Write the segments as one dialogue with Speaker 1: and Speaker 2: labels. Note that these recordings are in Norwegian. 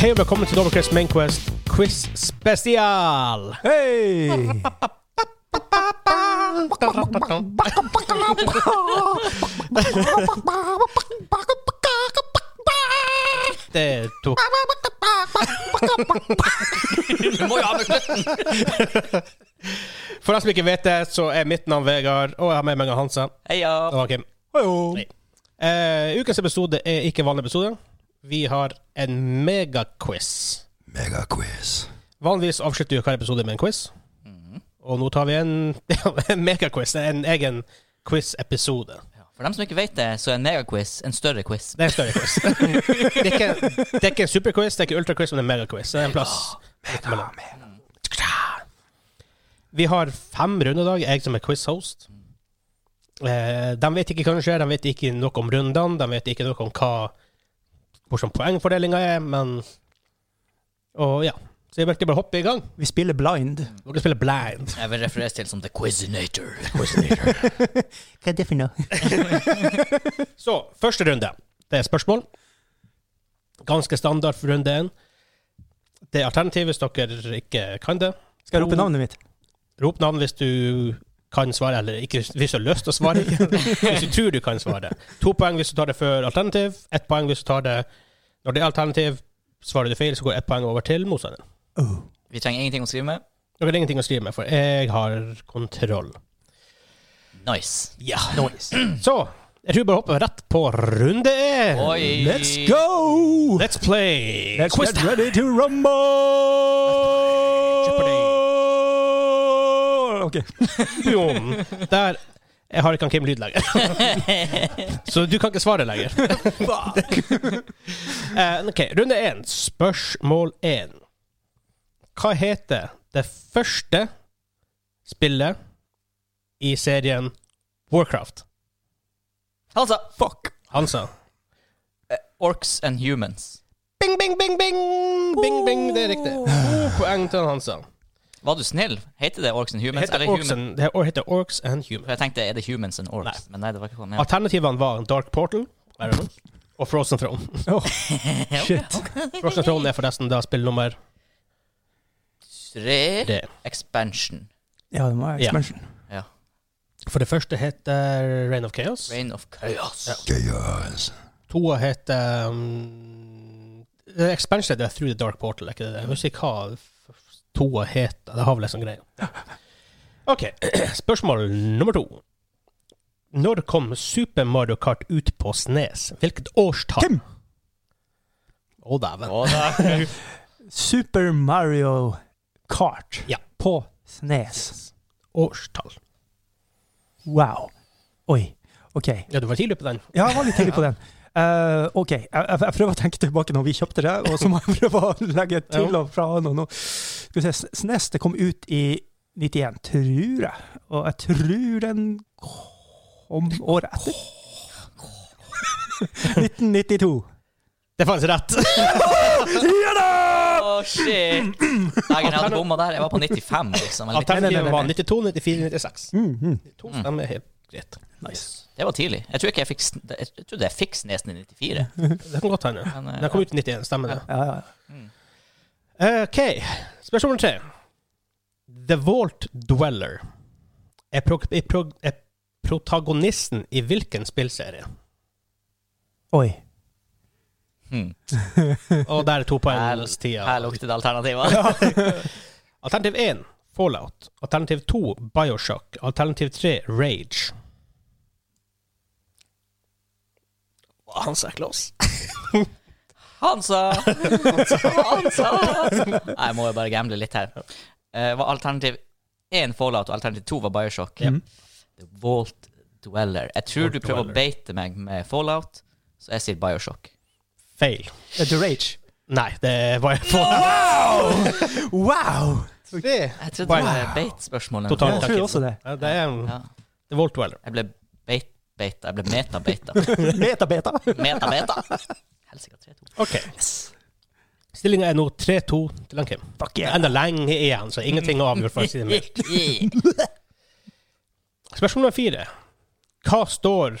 Speaker 1: Hei og velkommen til Dobbeltquiz Mainquest quiz spesial!
Speaker 2: Hei!
Speaker 1: Det tok
Speaker 3: Du må jo ha med slutten.
Speaker 1: For deg som ikke vet det, så er mitt navn Vegard, og jeg har med meg Hansa
Speaker 3: Heia.
Speaker 1: og Kim.
Speaker 2: Hallo!
Speaker 1: Hei. Eh, ukens episode er ikke vanlig episode. Vi har en megaquiz.
Speaker 2: Megaquiz.
Speaker 1: Vanligvis avslutter vi hver episode med en quiz. Og nå tar vi en, en megaquiz. En egen quiz-episode.
Speaker 3: For dem som ikke vet det, så er en megaquiz en større quiz.
Speaker 1: Det er en større quiz. det, er ikke, det er ikke en superquiz, det er ikke ultraquiz, men en megaquiz. Det er en plass. midt mellom. Vi har fem runder i dag. Jeg som er quiz-host. Eh, de vet ikke hva som skjer, de vet ikke noe om rundene, de vet ikke noe om hva hvordan poengfordelinga er, men Og ja. Så jeg vil egentlig bare hoppe i gang.
Speaker 2: Vi spiller blind.
Speaker 1: Dere spiller blind.
Speaker 3: Jeg vil refereres til som The Quizinator.
Speaker 2: Hva er det for noe?
Speaker 1: Så, første runde. Det er spørsmål. Ganske standard for runde én. Det er alternativ hvis dere ikke kan det.
Speaker 2: Skal jeg rope navnet mitt?
Speaker 1: Rop navn hvis du kan svare, eller ikke, hvis du har lyst til å svare. hvis du tror du kan svare. To poeng hvis du tar det før alternativ. Ett poeng hvis du tar det når det er alternativ. Svarer du feil, så går ett poeng over til motstanderen.
Speaker 3: Vi trenger ingenting å skrive med.
Speaker 1: Dere har ingenting å skrive med, for jeg har kontroll.
Speaker 3: Nice.
Speaker 1: Ja. Så jeg tror bare hopper rett på runde én.
Speaker 3: Oi.
Speaker 2: Let's go!
Speaker 1: Let's play
Speaker 2: Let's
Speaker 1: quiz
Speaker 2: get
Speaker 1: time.
Speaker 2: ready to rumble! Ok.
Speaker 1: Boom. Der Jeg har ikke han Kim Lyd lenger. Så du kan ikke svare lenger. Eh, ok, Runde én, spørsmål én. Hva heter det første spillet i serien Warcraft?
Speaker 3: Altså,
Speaker 2: Fuck.
Speaker 1: Hansa.
Speaker 3: Orcs and Humans.
Speaker 1: Bing, bing, bing, bing! Bing, bing, Det er riktig. To Poeng til Hansa.
Speaker 3: Var du snill? Heter det Orcs and
Speaker 1: Det
Speaker 3: Humans?
Speaker 1: heter
Speaker 3: Eller
Speaker 1: Orcs
Speaker 3: human?
Speaker 1: and, det heter Orcs and Humans.
Speaker 3: For jeg tenkte, er det Humans and Orcs? Men nei, det var ikke sånn. Ja.
Speaker 1: Alternativene var Dark Portal og Frozen Throne.
Speaker 2: Shit.
Speaker 1: Frozen Throne er forresten da spill nummer
Speaker 3: Tre
Speaker 1: tre.
Speaker 3: Expansion.
Speaker 2: Ja, det må være expansion.
Speaker 3: Ja.
Speaker 1: For det første heter Rain of Chaos.
Speaker 3: Reign of Chaos.
Speaker 2: Chaos.
Speaker 1: Toa heter um, The Expansion heter Through the Dark Portal, er ikke det? Jeg husker ikke hva f- toa heter. Det har vel en sånn greie. OK, spørsmål nummer to. Når kom Super Mario Kart ut på Snes? Hvilket årstall?
Speaker 2: Kim!
Speaker 1: Å, dæven.
Speaker 3: Å, da.
Speaker 2: Super Mario Kart
Speaker 1: Ja.
Speaker 2: på Snes.
Speaker 1: Årstall.
Speaker 2: Wow. Oi. OK.
Speaker 1: Ja, du var tidlig på den.
Speaker 2: Ja, jeg var litt tidlig på den. Eh, OK, jeg, jeg, jeg prøver å tenke tilbake når vi kjøpte det, og så må jeg prøve å legge til og fra nå. nå. Skal vi se, S- Snes det kom ut i 91, tror jeg. Og jeg tror den kom året etter. 1992.
Speaker 1: Det fantes rett.
Speaker 2: Ja da!
Speaker 3: Å, shit. Nei, jeg hadde bomma der. Jeg var på 95, liksom. eller-
Speaker 2: nei, nei,
Speaker 1: Alternativet
Speaker 2: nei.
Speaker 1: var 92, 94, 96.
Speaker 2: Mm, mm.
Speaker 1: To stemmer helt greit.
Speaker 2: Nice.
Speaker 3: Det var tidlig. Jeg tror ikke jeg fikk sn- Jeg trodde jeg fikk Snesen i 94.
Speaker 1: Det kan godt hende.
Speaker 3: Men, eh,
Speaker 1: Den kom ut i 91, stemmer det.
Speaker 2: Ja, ja.
Speaker 1: OK. Spørsmål nummer tre. The Vault Dweller er, pro er, pro er protagonisten i hvilken spillserie?
Speaker 2: Oi.
Speaker 3: Hmm.
Speaker 1: Og der er to
Speaker 3: Her,
Speaker 1: poengs
Speaker 3: her
Speaker 1: tida.
Speaker 3: lukter det alternativer.
Speaker 1: Alternativ én Fallout. Alternativ to Bioshock. Alternativ tre Rage. Han sa close.
Speaker 3: Hansa! Hansa! Nei, jeg må jo bare gamble litt her. Eh, var alternativ én Fallout, og alternativ to var Bioshock.
Speaker 2: Mhm.
Speaker 3: The Vault Dweller. Jeg tror
Speaker 1: Vault
Speaker 3: du prøver
Speaker 1: Dweller.
Speaker 3: å beite meg med Fallout, så jeg sier Bioshock.
Speaker 1: Feil.
Speaker 2: Eh, The Rage.
Speaker 1: Nei, det var Fallout.
Speaker 2: Wow! Wow!
Speaker 1: Tre.
Speaker 3: Jeg trodde det
Speaker 1: Wow.
Speaker 3: var beit-spørsmålet.
Speaker 1: Totalt
Speaker 2: Jeg tror også det.
Speaker 1: Ja, det er en
Speaker 3: Ja.
Speaker 1: The Vault Dweller.
Speaker 3: Jeg ble beit-beita. Jeg ble meta-beita.
Speaker 2: Meta-beta.
Speaker 3: Meta-beta! Helsike, 3-2.
Speaker 1: OK. Stillinga er nå 3-2 til han Kim.
Speaker 2: Fuck
Speaker 1: Det er
Speaker 2: yeah.
Speaker 1: enda lenge igjen, så ingenting er avgjort. for å si det mildt. Spørsmål nummer fire. Hva står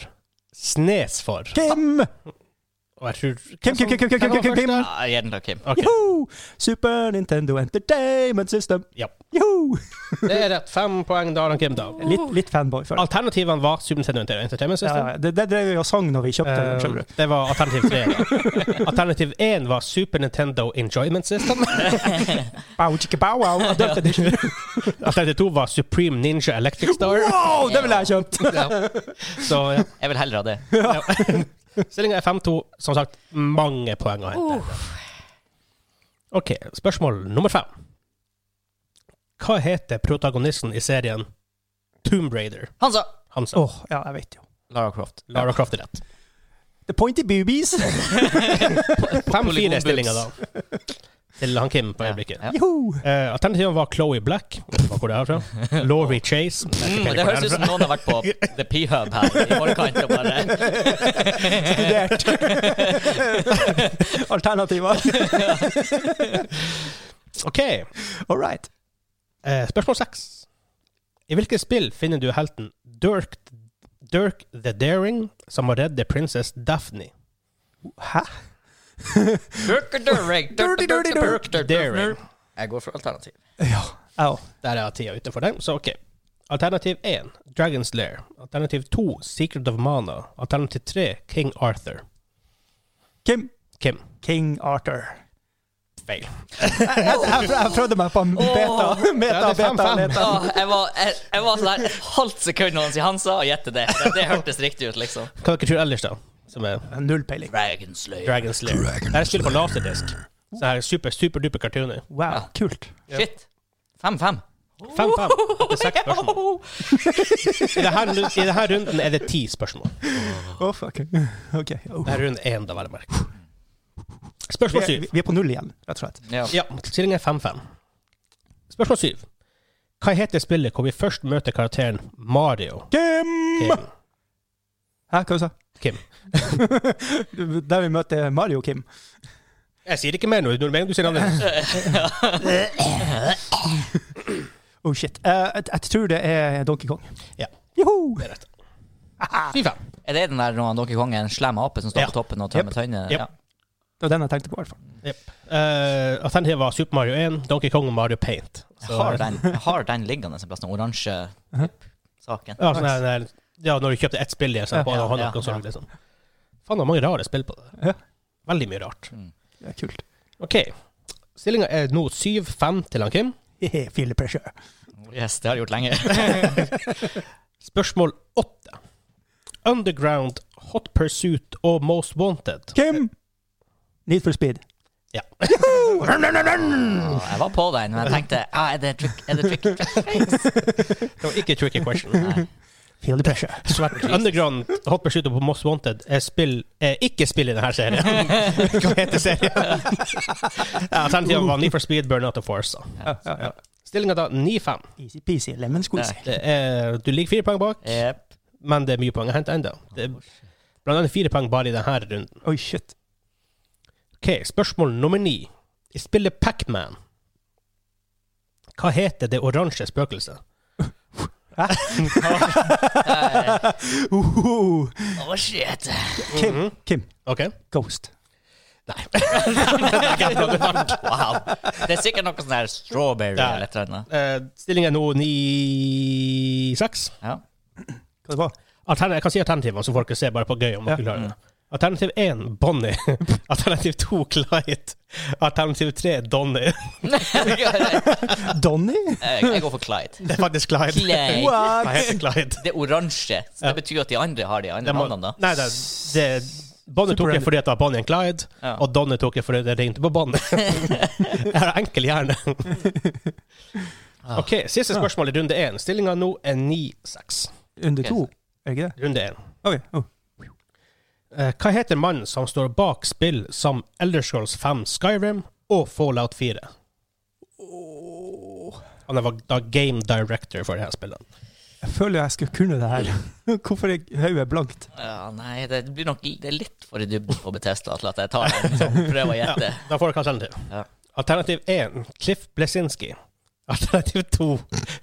Speaker 1: Snes for?
Speaker 2: Kim!
Speaker 1: Og jeg tror
Speaker 2: Kim, Kim, Kim, Kim, Kim,
Speaker 1: hvem var
Speaker 2: Kim, Kim,
Speaker 1: først
Speaker 2: Kim.
Speaker 1: der?
Speaker 3: Ja, jeg gir den til Kim.
Speaker 1: Ok.
Speaker 2: Joho! Super Nintendo Entertainment System.
Speaker 1: Ja.
Speaker 2: Joho!
Speaker 1: Det er rett. Fem poeng der han Kim, da.
Speaker 2: Litt, litt fanboy for det.
Speaker 1: Alternativene var Super Nintendo Entertainment
Speaker 2: Ja,
Speaker 1: System.
Speaker 2: ja, ja. det. Det drev vi og sang når vi kjøpte den. skjønner
Speaker 1: Eh, det var alternativ tre. da. Alternativ én var Super Nintendo Enjoyment System.
Speaker 2: du. Bow, chicka, bow, wow, adult edition.
Speaker 1: Alternativ to var Supreme Ninja Electric Star.
Speaker 2: Wow, det ville jeg kjøpt!
Speaker 3: Ja,
Speaker 1: Så ja.
Speaker 3: jeg vil heller ha det.
Speaker 1: ja. Stillinga er 5-2. Som sagt, mange poeng å hente. OK, spørsmål nummer fem. Hva heter protagonisten i serien Tomb Raider?
Speaker 3: Hansa!
Speaker 1: Hansa.
Speaker 2: Åh, ja, jeg vet jo.
Speaker 3: Lara Croft.
Speaker 1: Lara Croft er rett.
Speaker 2: The Pointy Boobies.
Speaker 1: 5-4
Speaker 3: Polygon
Speaker 1: er stillinga da. Til han Kim på øyeblikket.
Speaker 3: Ja.
Speaker 2: Joho!
Speaker 1: Eh, Alternativene var Chloe Black, hva hvor det er fra. Laurie Chase. Jeg vet ikke helt
Speaker 3: Mm, det
Speaker 1: hvor
Speaker 3: høres
Speaker 1: er
Speaker 3: ut
Speaker 1: fra.
Speaker 3: som noen har vært på The P-Hub her i forkant og bare
Speaker 2: Studert. Alternativer.
Speaker 1: OK.
Speaker 2: All right.
Speaker 1: Eh, spørsmål seks. I hvilket spill finner du helten Dirk, Dirk the Daring, som må redde prinsess Daphne?
Speaker 2: Hæ?
Speaker 3: Dirk-a-dirk,
Speaker 2: Dirty, dirty,
Speaker 3: dirk-a-dirk,
Speaker 2: dirk.
Speaker 3: dirk-a-dirk.
Speaker 1: Daring.
Speaker 3: Jeg går for alternativ.
Speaker 2: Ja. Au.
Speaker 1: Der er tida ute for den, så OK. Alternativ én, Dragon's Lair. Alternativ to, Secret of Mana. Alternativ tre, King Arthur.
Speaker 2: Kim.
Speaker 1: Kim.
Speaker 2: King Arthur.
Speaker 1: Feil.
Speaker 2: Jeg, jeg, jeg prøvde meg på beta,
Speaker 1: Ja,
Speaker 2: meta,
Speaker 1: det er fem,
Speaker 2: beta,
Speaker 1: fem.
Speaker 2: beta.
Speaker 3: Åh, jeg, var, jeg, jeg var sånn der et halvt sekund når han sier Hansa, og gjette det. det. Det hørtes riktig ut, liksom.
Speaker 1: Hva dere tror ellers, da? Som er
Speaker 2: Null peiling.
Speaker 3: Dragonslayer.
Speaker 1: Dragon's Lair. Det her spiller på laserdisk. Så her er super, superduper cartooner.
Speaker 2: Wow, kult.
Speaker 3: Shit. 5-5.
Speaker 1: 5-5 etter seks spørsmål. I denne, I denne runden er det ti spørsmål.
Speaker 2: Å, fuck. Ok. Oh.
Speaker 1: Det er runde én, da, vel å merke.
Speaker 2: Vi,
Speaker 1: Spørsmål
Speaker 2: er-
Speaker 1: syv.
Speaker 2: vi- vi er på null igjen, rett og slett.
Speaker 3: Ja.
Speaker 1: Ja, stillingen er 5-5. Spørsmål syv. Hva heter spillet hvor vi først møter karakteren Mario?
Speaker 2: Kim!
Speaker 1: Kim.
Speaker 2: Hæ, hva sa du?
Speaker 1: Kim.
Speaker 2: Der vi møter Mario Kim.
Speaker 1: Jeg sier ikke mer nå. Du, du sier annerledes.
Speaker 2: Oh shit. Eh, jeg, jeg tror det er Donkey Kong.
Speaker 1: Ja.
Speaker 2: Joho!
Speaker 1: Det er rett. 4-5.
Speaker 3: Er det den der når Donkey Kong er en slem ape som står
Speaker 1: Ja.
Speaker 3: på toppen og tømmer tønner?
Speaker 1: Yep.
Speaker 3: Ja.
Speaker 2: Det var den jeg tenkte på, i hvert fall.
Speaker 1: Uh, Alternativet var Super Mario 1, Donkey Kong og Mario Paint.
Speaker 3: Jeg har den, jeg har den liggende en plass, den oransje saken.
Speaker 1: Ja, sånn her- den her- ja, når du kjøpte ett spill igjen, så på ja,
Speaker 3: Ja, ja,
Speaker 1: håndkonsoll,
Speaker 3: ja.
Speaker 1: liksom. Faen, det var mange rare spill på det.
Speaker 2: Ja.
Speaker 1: Veldig mye
Speaker 3: Uh-huh.
Speaker 1: rart.
Speaker 3: Mm.
Speaker 2: Ja, kult.
Speaker 1: OK. Stillinga er nå 7-5 til han Kim.
Speaker 2: Hehe, Feel the pressure.
Speaker 3: Yes, det har jeg gjort lenge.
Speaker 1: Spørsmål 8. Underground, Hot Pursuit og Most Wanted.
Speaker 2: Kim! Need for speed.
Speaker 1: Ja.
Speaker 3: Ja, jeg var på den, men jeg tenkte ah, Er det trick? Er det trick?
Speaker 1: Det var ikke tricky question.
Speaker 3: Nei.
Speaker 2: Feel the pressure.
Speaker 1: Underground, Hot Pursuit og Most Wanted er, spill, er ikke spill i denne serien. Hva heter serien? Ja, Alternativene var Need for Speed, Burnout og Forza.
Speaker 2: Ja, ja, ja.
Speaker 1: Stillinga da 9-5.
Speaker 2: Easy peasy, lemon squeezy.
Speaker 1: Det er- Du ligger fire poeng bak.
Speaker 3: Jep.
Speaker 1: men det er mye poeng å hente ennå. Blant annet fire poeng bare i denne runden.
Speaker 2: Oi, shit.
Speaker 1: Ok, Spørsmål nummer ni. I spillet Pacman, hva heter det oransje spøkelset?
Speaker 2: Uhuhu.
Speaker 3: Å, Oh, shit.
Speaker 2: Kim, Kim,
Speaker 1: Ok?
Speaker 2: Ghost.
Speaker 1: Nei.
Speaker 3: Wow. Det er sikkert noe sånn her strawberry
Speaker 1: Ja.
Speaker 3: eller et eller annet.
Speaker 1: Eh, Stillingen er nå 9-6.
Speaker 3: Ja.
Speaker 2: Hva det var
Speaker 1: Altern- Jeg kan si alternativene, så folk ser bare på gøy om dere
Speaker 2: Ja.
Speaker 1: klarer det. Alternativ 1 Bonnie. Alternativ 2 Clyde. Alternativ 3 Donny.
Speaker 2: Donny?
Speaker 3: jeg, jeg går for Clyde.
Speaker 1: Det er faktisk Clyde.
Speaker 3: Clyde.
Speaker 1: Han
Speaker 2: What?
Speaker 1: heter Clyde.
Speaker 3: Det er oransje, så det betyr at de andre har de andre
Speaker 1: Det må-
Speaker 3: navnene, da.
Speaker 1: Nei, det, det, Bonnie tok det fordi at det var Bonnie and Clyde,
Speaker 3: Ja.
Speaker 1: og Donnie tok det fordi det ringte på Bonnie. Jeg har enkel hjerne. OK, siste spørsmål i runde én. Stillinga nå er 9-6.
Speaker 2: Under
Speaker 3: Ok,
Speaker 2: to, er det ikke det?
Speaker 1: Runde én.
Speaker 2: Ok, oh.
Speaker 1: Eh, Hva heter mannen som står bak spill som Elderscrolls 5 Skyrim og Fallout 4? Han var da game director for det her spillet.
Speaker 2: Jeg føler jeg skulle kunne det her. Hvorfor er hodet blankt?
Speaker 3: Ja, nei, det blir nok det er litt for i dybden på Betesta til at jeg tar en sånn prøve å gjette.
Speaker 1: Da får dere alternativ.
Speaker 3: Ja.
Speaker 1: Alternativ 1, Cliff Blesinski. Alternativ to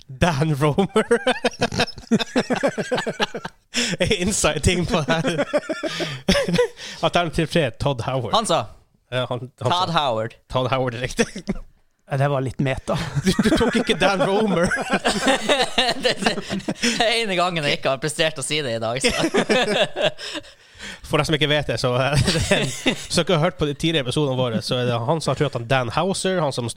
Speaker 1: Dan Romer. Inside-ting på det her. Alternativ tre Todd Howard.
Speaker 3: Han sa
Speaker 1: Ja, han, han,
Speaker 3: Todd Howard.
Speaker 1: Todd Howard er riktig.
Speaker 2: Ja, Det var litt meta.
Speaker 1: Du, du tok ikke Dan Romer.
Speaker 3: det er ene gangen jeg ikke har prestert å si det i dag. Så.
Speaker 1: For deg som ikke vet det, så eh, det er en- Så ikke har hørt på de tidligere episodene våre, så er det han som har trøtt han Dan Houser, han som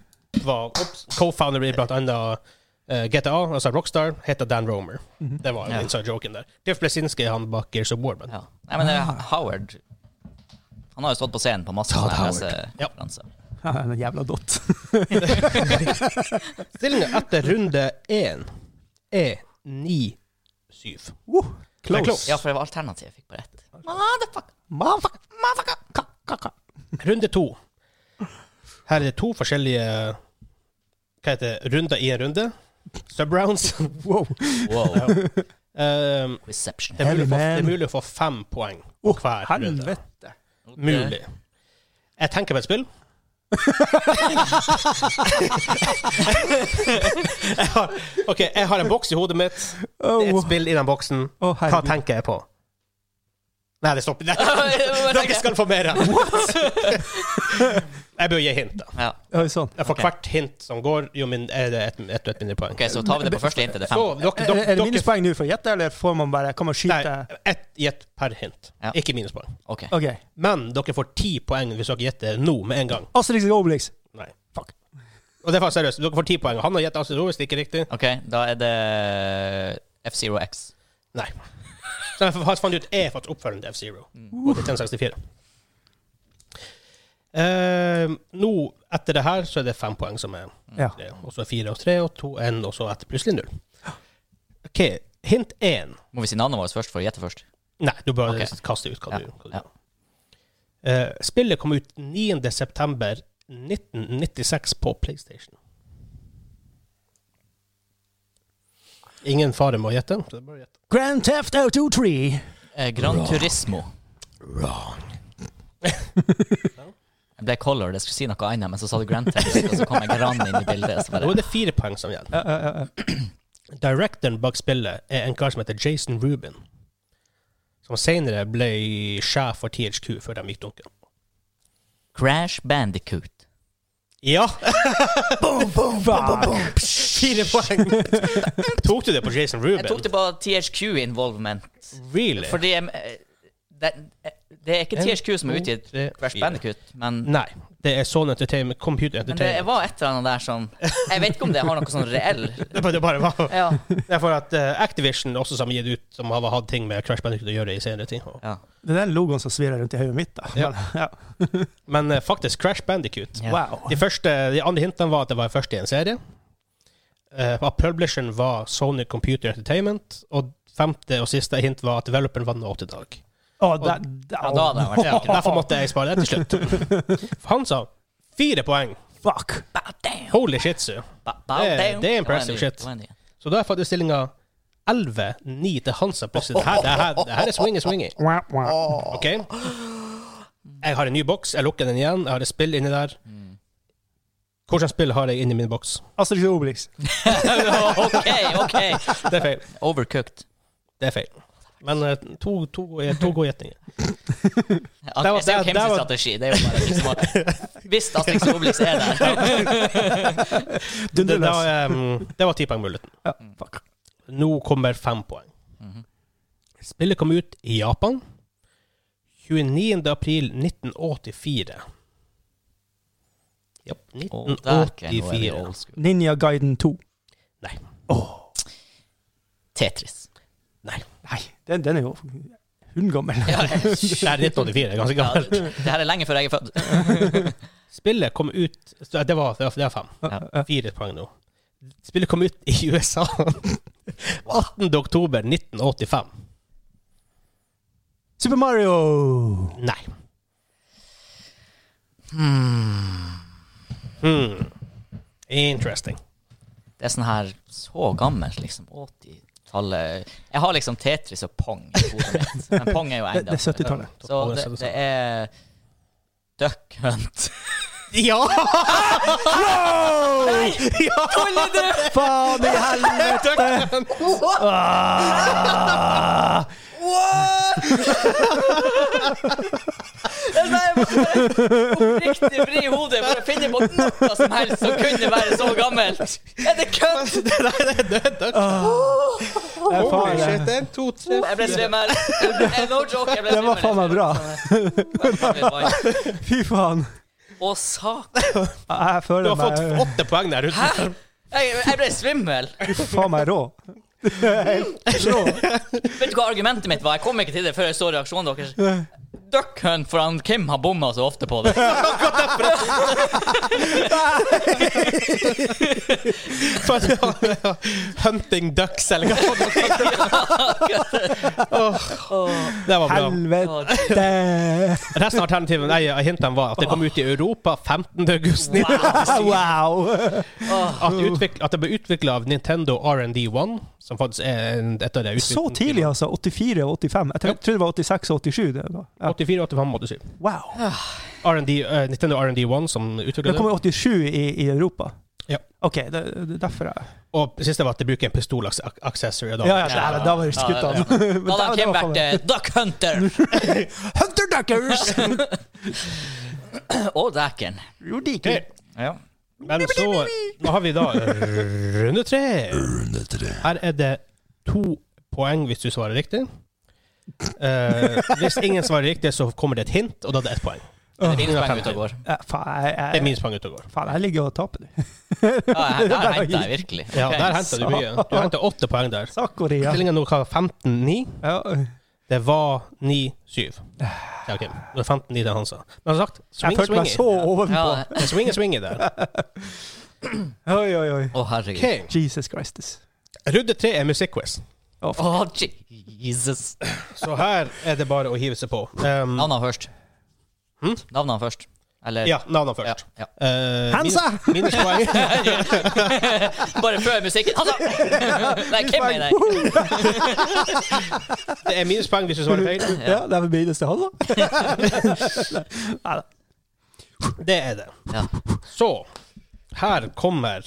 Speaker 1: var ops, co-founder i blant annet eh, GTA, altså Rockstar, heter Dan Romer. Det var
Speaker 3: Ja.
Speaker 1: jo inside joken der. Jeff Blesinski er han bak Gears of War, men
Speaker 3: Ja. Nei, men det er Howard Han har jo stått på scenen på masse
Speaker 1: Todd
Speaker 3: sånne
Speaker 1: Howard.
Speaker 3: pressekonferanser.
Speaker 2: Ja, En jævla dott.
Speaker 1: Stillinga etter runde én er 9-7. Det
Speaker 2: Uh,
Speaker 1: er
Speaker 2: close.
Speaker 1: close.
Speaker 3: Ja, for det var alternativ jeg fikk på rett. Motherfucker.
Speaker 2: Motherfucker. Motherfucker. Ka, ka, ka.
Speaker 1: Runde to. Her er det to forskjellige Hva heter det? Runder i en runde. Subrounds.
Speaker 2: Wow.
Speaker 3: Wow.
Speaker 1: Um,
Speaker 3: Reception.
Speaker 1: det, er mulig å få,
Speaker 2: Heavy man.
Speaker 1: det er mulig å få fem poeng på
Speaker 2: Oh,
Speaker 1: hver runde.
Speaker 2: Helvete.
Speaker 1: Mulig. Jeg tenker på et spill. jeg har, OK, jeg har en boks i hodet mitt.
Speaker 2: Å,
Speaker 1: Det er et spill i den boksen.
Speaker 2: å,
Speaker 1: Hva
Speaker 2: herregud.
Speaker 1: tenker jeg på? Nei, det stopper. Nei. Dere
Speaker 3: Dere
Speaker 1: skal få mer. jeg bør gi hint, da.
Speaker 3: Ja.
Speaker 2: Oi, sånn.
Speaker 1: For
Speaker 3: Ok.
Speaker 1: hvert hint som går, jo min, er det ett et, et mindre poeng.
Speaker 3: Ok, så tar vi det på første hintet. Det er
Speaker 1: Så
Speaker 3: fem.
Speaker 1: dere,
Speaker 2: Er,
Speaker 1: dere,
Speaker 2: er det
Speaker 1: dere
Speaker 2: minuspoeng nå for å gjette, eller får man bare, kan man skyte?
Speaker 1: Nei, ett gjett per hint.
Speaker 3: Ja.
Speaker 1: Ikke minuspoeng.
Speaker 3: Ok.
Speaker 2: Ok.
Speaker 1: Men dere får ti poeng hvis dere gjetter nå med en gang.
Speaker 2: Asterix og Obelix.
Speaker 1: Nei.
Speaker 2: Fuck.
Speaker 1: Og det er faktisk seriøst. Dere får ti poeng. Han har gjettet Astrid Rovis, det er ikke riktig.
Speaker 3: Ok, da er det F-Zero X.
Speaker 1: Nei. Så jeg har funnet ut er faktisk oppfølgeren til F-Zero. Og til 1064. Eh, nå, etter det her, så er det fem poeng som er
Speaker 2: Ja.
Speaker 1: det. Og så er fire og tre og to, én, og så etter plutselig null. OK, hint én.
Speaker 3: Må vi si navnet vårt først for å gjette først?
Speaker 1: Nei, du bare
Speaker 3: Ok.
Speaker 1: kaster ut hva
Speaker 3: Ja,
Speaker 1: du, hva du
Speaker 3: ja.
Speaker 1: Eh, Spillet kom ut 9. september 1996 på PlayStation. Ingen fare med å gjette. så det er bare å gjette.
Speaker 2: Grand Theft Auto 3.
Speaker 3: Eh, Gran Turismo. Jeg ble colored, jeg skulle si noe annet, men så sa du Grand Theft, og så kom jeg Gran inn i bildet. Så
Speaker 1: Nå
Speaker 3: bare,
Speaker 1: er det fire poeng som gjelder.
Speaker 2: Ja, ja, ja,
Speaker 1: eh.
Speaker 2: ja.
Speaker 1: Directoren bak spillet er en kar som heter Jason Rubin, som senere ble sjef for THQ før de gikk dunken.
Speaker 3: Crash Bandicoot.
Speaker 1: Ja!
Speaker 2: Boom, boom, boom, boom, boom.
Speaker 1: Fire poeng! Tok du det på Jason
Speaker 3: Jeg tok
Speaker 1: Rubin?
Speaker 3: det på THQ Involvement,
Speaker 1: Really?
Speaker 3: fordi jeg, eh, det, eh, det er ikke
Speaker 1: En,
Speaker 3: THQ som
Speaker 1: to,
Speaker 3: er utgitt
Speaker 1: tre,
Speaker 3: Crash
Speaker 1: fire.
Speaker 3: Bandicoot, men
Speaker 1: Nei. Det er Sony Entertainment, Computer
Speaker 3: men det
Speaker 1: Entertainment.
Speaker 3: var et eller annet der som Jeg vet ikke om det har noe sånn reell
Speaker 1: Det bare, det bare var
Speaker 3: Ja.
Speaker 1: Det er for at eh, Activision også som har gitt ut Som har hatt ting med Crash Bandicoot å gjøre i senere tid.
Speaker 3: ja.
Speaker 2: Det er den logoen som svirrer rundt i hodet mitt. da.
Speaker 1: Ja.
Speaker 2: Men, ja.
Speaker 1: Men eh, faktisk Crash Bandicoot
Speaker 3: Ja.
Speaker 2: Wow.
Speaker 1: De første, de andre hintene var at det var først i en serie. Eh, at publisheren var Sony Computer Entertainment. Og femte og siste hint var at developeren var Naughty Dog.
Speaker 2: Å, da, da, oh,
Speaker 3: Ja, da hadde det vært
Speaker 1: Ja, derfor måtte jeg spare det til slutt. For han sa fire poeng.
Speaker 2: Fuck.
Speaker 3: Bow down,
Speaker 1: Holy shitsu.
Speaker 3: bow- bow
Speaker 1: Det-
Speaker 3: down.
Speaker 1: det er impressive
Speaker 3: Det var en
Speaker 1: shit.
Speaker 3: ny- det var en ny.
Speaker 1: Så da er faktisk stillinga 11-9 til Hansa plutselig. Det her, det her, det her er swingy, swingy.
Speaker 2: Wow, wow.
Speaker 1: OK? Jeg har en ny boks. Jeg lukker den igjen. Jeg har et spill inni der. Hvilket spill har jeg inni min boks?
Speaker 2: Asterix og Obelix.
Speaker 3: OK, OK.
Speaker 1: Det er feil.
Speaker 3: Overcooked.
Speaker 1: Det er feil. Men eh, to, to, to gode gjetninger.
Speaker 3: At,
Speaker 1: Det var-
Speaker 3: jeg ser
Speaker 1: det-
Speaker 3: jo hvem
Speaker 1: det
Speaker 3: sin
Speaker 1: var-
Speaker 3: strategi. Det er jo bare liksom at Hvis Asterix og Obelix er der
Speaker 1: Det, det,
Speaker 2: Dunderløs.
Speaker 1: var, em, det var ti poeng muligheten.
Speaker 2: Ja, fuck.
Speaker 1: Nå kommer fem poeng.
Speaker 3: Mhm.
Speaker 1: Spillet kom ut i Japan 29. april 1984. Ja,
Speaker 3: Å, dæken, nå er vi
Speaker 1: 1984.
Speaker 3: old school.
Speaker 2: Ninja Guiden 2.
Speaker 1: Nei.
Speaker 3: Tetris.
Speaker 1: Nei.
Speaker 2: Nei, den, den er jo hundgammel.
Speaker 3: Ja,
Speaker 1: Det er 1984. det er Ganske
Speaker 3: ja,
Speaker 1: gammelt.
Speaker 3: det her er lenge før jeg er født.
Speaker 1: Spillet kom ut så Det var, det var, det var fem.
Speaker 2: Ja, ja.
Speaker 1: Fire poeng nå. Spillet kom ut i USA 18. oktober 1985.
Speaker 2: Super Mario!
Speaker 1: Nei. Hmm. Interesting.
Speaker 3: Det er sånn her så gammelt, liksom. 80-tallet. Jeg har liksom Tetris og Pong i hodet mitt, men Pong er jo
Speaker 2: Det, det
Speaker 3: enda
Speaker 2: er 70-tallet.
Speaker 3: Så det, det er Duck Hunt.
Speaker 1: Ja!
Speaker 2: Wow!
Speaker 1: ja!
Speaker 3: Tuller du?!
Speaker 2: Faen i helvete! Ah!
Speaker 3: What?! Nei, jeg måtte bare oppriktig vri hodet for å finne på noe som helst som kunne være så gammelt. Er det kødd?!
Speaker 1: Det der er dødt.
Speaker 2: Det er
Speaker 1: Holy
Speaker 2: faen,
Speaker 1: shit. En, to, tre,
Speaker 3: Jeg ble
Speaker 1: fire.
Speaker 3: svimmel. Eh, No joke, jeg ble
Speaker 2: Det
Speaker 3: svimmel.
Speaker 2: var faen meg bra.
Speaker 3: bra.
Speaker 2: Fy faen.
Speaker 3: Å, sak...
Speaker 2: Jeg
Speaker 1: Du
Speaker 2: føler
Speaker 1: har fått
Speaker 2: meg
Speaker 1: åtte poeng der ute.
Speaker 3: Hæ?! Jeg, jeg ble svimmel.
Speaker 2: faen meg rå. rå.
Speaker 3: Vet du hva argumentet mitt var? Jeg kom ikke til det før jeg så reaksjonen deres. Duck hunt, for han Kim har bomma så ofte på det.
Speaker 1: For at han- ja, Hunting ducks, eller hva faen det var. Åh, Det var bra.
Speaker 2: Helvete.
Speaker 1: Resten av alternativet nei, hintene var at det kom ut i Europa 15. august.
Speaker 2: Wow.
Speaker 1: At, det utvikl- at det ble utvikla av Nintendo R&D1, som faktisk er en- et av de
Speaker 2: Så
Speaker 1: utviklings-
Speaker 2: tidlig, altså. 84 og 85. Jeg tror- trodde det var 86 og 87. Det var. Ja.
Speaker 1: 84, 85, 87.
Speaker 2: Wow.
Speaker 1: R&D, eh, Nintendo R&D1 som utvikla
Speaker 2: Det
Speaker 1: det.
Speaker 2: kommer 87 i, i Europa.
Speaker 1: Ja.
Speaker 2: OK, det, det er derfor jeg
Speaker 1: Og det siste var at de bruker en pistolaccessory. og da-
Speaker 2: Ja, ja, da, da var det skutt altså.
Speaker 3: Ja,
Speaker 2: av.
Speaker 3: ja, ja. Da hadde han Kim vært eh, duck hunter.
Speaker 2: Hunter Duckers!
Speaker 3: Og dæken.
Speaker 2: Jo, de
Speaker 1: Ok,
Speaker 2: ikke.
Speaker 3: Ja.
Speaker 1: Men så nå har vi da eh, runde tre. Her er det to poeng hvis du svarer riktig. Eh, hvis ingen svarer riktig, så kommer det et hint, og da er det ett poeng.
Speaker 3: Det er minuspoeng ute og går.
Speaker 2: Ja, faen, jeg,
Speaker 1: Det er
Speaker 2: jeg,
Speaker 1: minuspoeng ute og går.
Speaker 2: faen, jeg ligger og taper nå.
Speaker 3: Ja, her- der henta jeg virkelig.
Speaker 1: Ja,
Speaker 3: Ok.
Speaker 1: der henta du mye. Du henta åtte poeng der.
Speaker 2: Sakoria.
Speaker 1: Stillinga nå er 15-9.
Speaker 2: Ja.
Speaker 1: Det var 9-7. Ja, ok. Det var 15-9 til Hansa. Men som sagt,
Speaker 2: Jeg
Speaker 1: swing,
Speaker 2: følte meg
Speaker 1: swing.
Speaker 2: så ovenpå.
Speaker 3: Ja.
Speaker 1: Det er Swing, swing der.
Speaker 2: Oi, oi, oi.
Speaker 3: Å, herregud.
Speaker 1: Ok.
Speaker 2: Jesus Christus.
Speaker 1: Runde tre er musikkquiz.
Speaker 3: Å, Jesus.
Speaker 1: Så her er det bare å hive seg på. Um,
Speaker 3: Navnene først.
Speaker 1: Hm?
Speaker 3: Navnene først. Eller
Speaker 1: ja, navnene
Speaker 3: Ja,
Speaker 1: først.
Speaker 3: ja.
Speaker 1: Eh,
Speaker 2: Hansa!
Speaker 1: minus- Minuspoeng.
Speaker 3: Bare før musikken. Altså! Nei, Kim
Speaker 2: Poeng.
Speaker 3: mener jeg.
Speaker 2: Woohoo!
Speaker 1: Det er minuspoeng hvis du svarer feil.
Speaker 2: Ja, det er vel minus til han, da. Nei da.
Speaker 1: Det er det.
Speaker 3: Ja.
Speaker 1: Så her kommer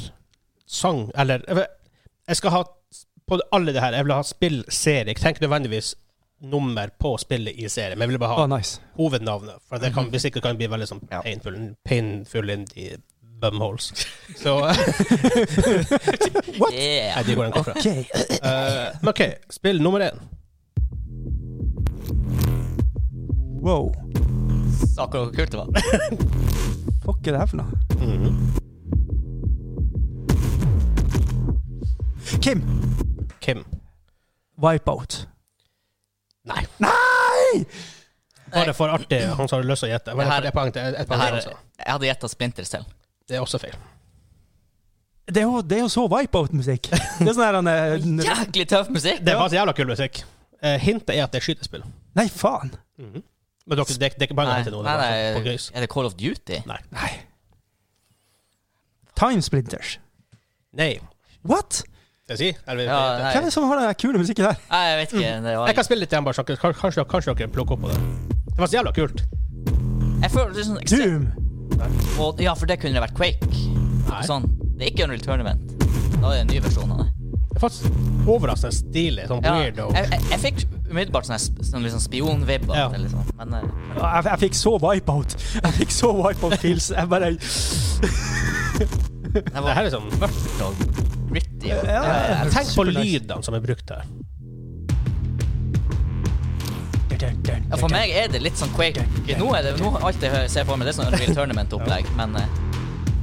Speaker 1: sang Eller jeg vet- jeg skal ha på alle det her. Jeg vil ha spill, serie. Jeg trenger ikke nødvendigvis nummer på spillet i serie, men jeg vil bare
Speaker 2: Å,
Speaker 1: ha
Speaker 2: nice.
Speaker 1: hovednavnet. For det kan, hvis ikke kan det bli veldig sånn
Speaker 3: Ja.
Speaker 1: painful, painful in the bumholes. Så eh,
Speaker 3: Yeah.
Speaker 1: Nei, det går den kort fra.
Speaker 2: Okay.
Speaker 1: Eh, men OK, spill nummer én.
Speaker 2: Wow.
Speaker 3: Akkurat hvor altså, kult det var.
Speaker 2: Fuck er det her for noe? Kim.
Speaker 1: Kim.
Speaker 2: Wipeout.
Speaker 1: Nei.
Speaker 2: Nei!
Speaker 1: Bare for artig, han som har lyst til å gjette. Bare
Speaker 3: Det her-
Speaker 1: for det poeng til- et
Speaker 3: Det
Speaker 1: poeng til
Speaker 3: her,
Speaker 1: han sa.
Speaker 3: jeg hadde gjetta Splinter selv.
Speaker 1: Det er også feil.
Speaker 2: Det er jo, det er jo så wipeout-musikk. Det er sånn her han er-
Speaker 3: Jæklig tøff musikk.
Speaker 1: Det var så jævla kul musikk. Eh, hintet er at det er skytespill.
Speaker 2: Nei, faen.
Speaker 1: Men dere, det, det er ikke bare
Speaker 3: Nei,
Speaker 1: å hente noe. det
Speaker 3: nei,
Speaker 1: er bare på
Speaker 3: nei,
Speaker 1: gøys.
Speaker 3: er det Call of Duty?
Speaker 1: Nei.
Speaker 2: Nei. Time Splinters.
Speaker 1: nei.
Speaker 2: What?
Speaker 1: Jeg, sier, eller,
Speaker 3: Ja, nei.
Speaker 2: Hvem er det som har den der kule musikken der?
Speaker 3: Nei, jeg vet ikke. Det var,
Speaker 1: Mm. jeg kan spille litt igjen, bare, så dere- kanskje, kanskje dere plukker opp på det. Det var så jævla kult.
Speaker 3: jeg føler det er sånn ekstremt-
Speaker 2: Doom.
Speaker 3: Og, ja, for det kunne det vært Quake.
Speaker 1: Nei.
Speaker 3: Sånn. Det er ikke Unreal Tournament. Da er det en ny versjon av det.
Speaker 1: Det er faktisk overraskende stilig. Sånn
Speaker 3: Ja,
Speaker 1: weird og
Speaker 3: jeg, jeg, jeg fikk umiddelbart sånne, sp- sånne liksom spionvibber.
Speaker 1: Ja.
Speaker 3: eller sånn, Men eh,
Speaker 2: Jeg, jeg fikk så wipeout. Jeg fikk så wipeout-feels. Jeg bare
Speaker 3: det
Speaker 1: Det
Speaker 3: var
Speaker 1: her er sånn
Speaker 3: mørkt og gritty. Og,
Speaker 2: Ja, ja, ja.
Speaker 1: Tenk på
Speaker 2: Supernice.
Speaker 1: lydene som er brukt her.
Speaker 3: ja, for meg er det litt sånn Quake. Nå er det nå, alt jeg hø- ser for meg, det er sånn Unreal Tournament-opplegg, men eh,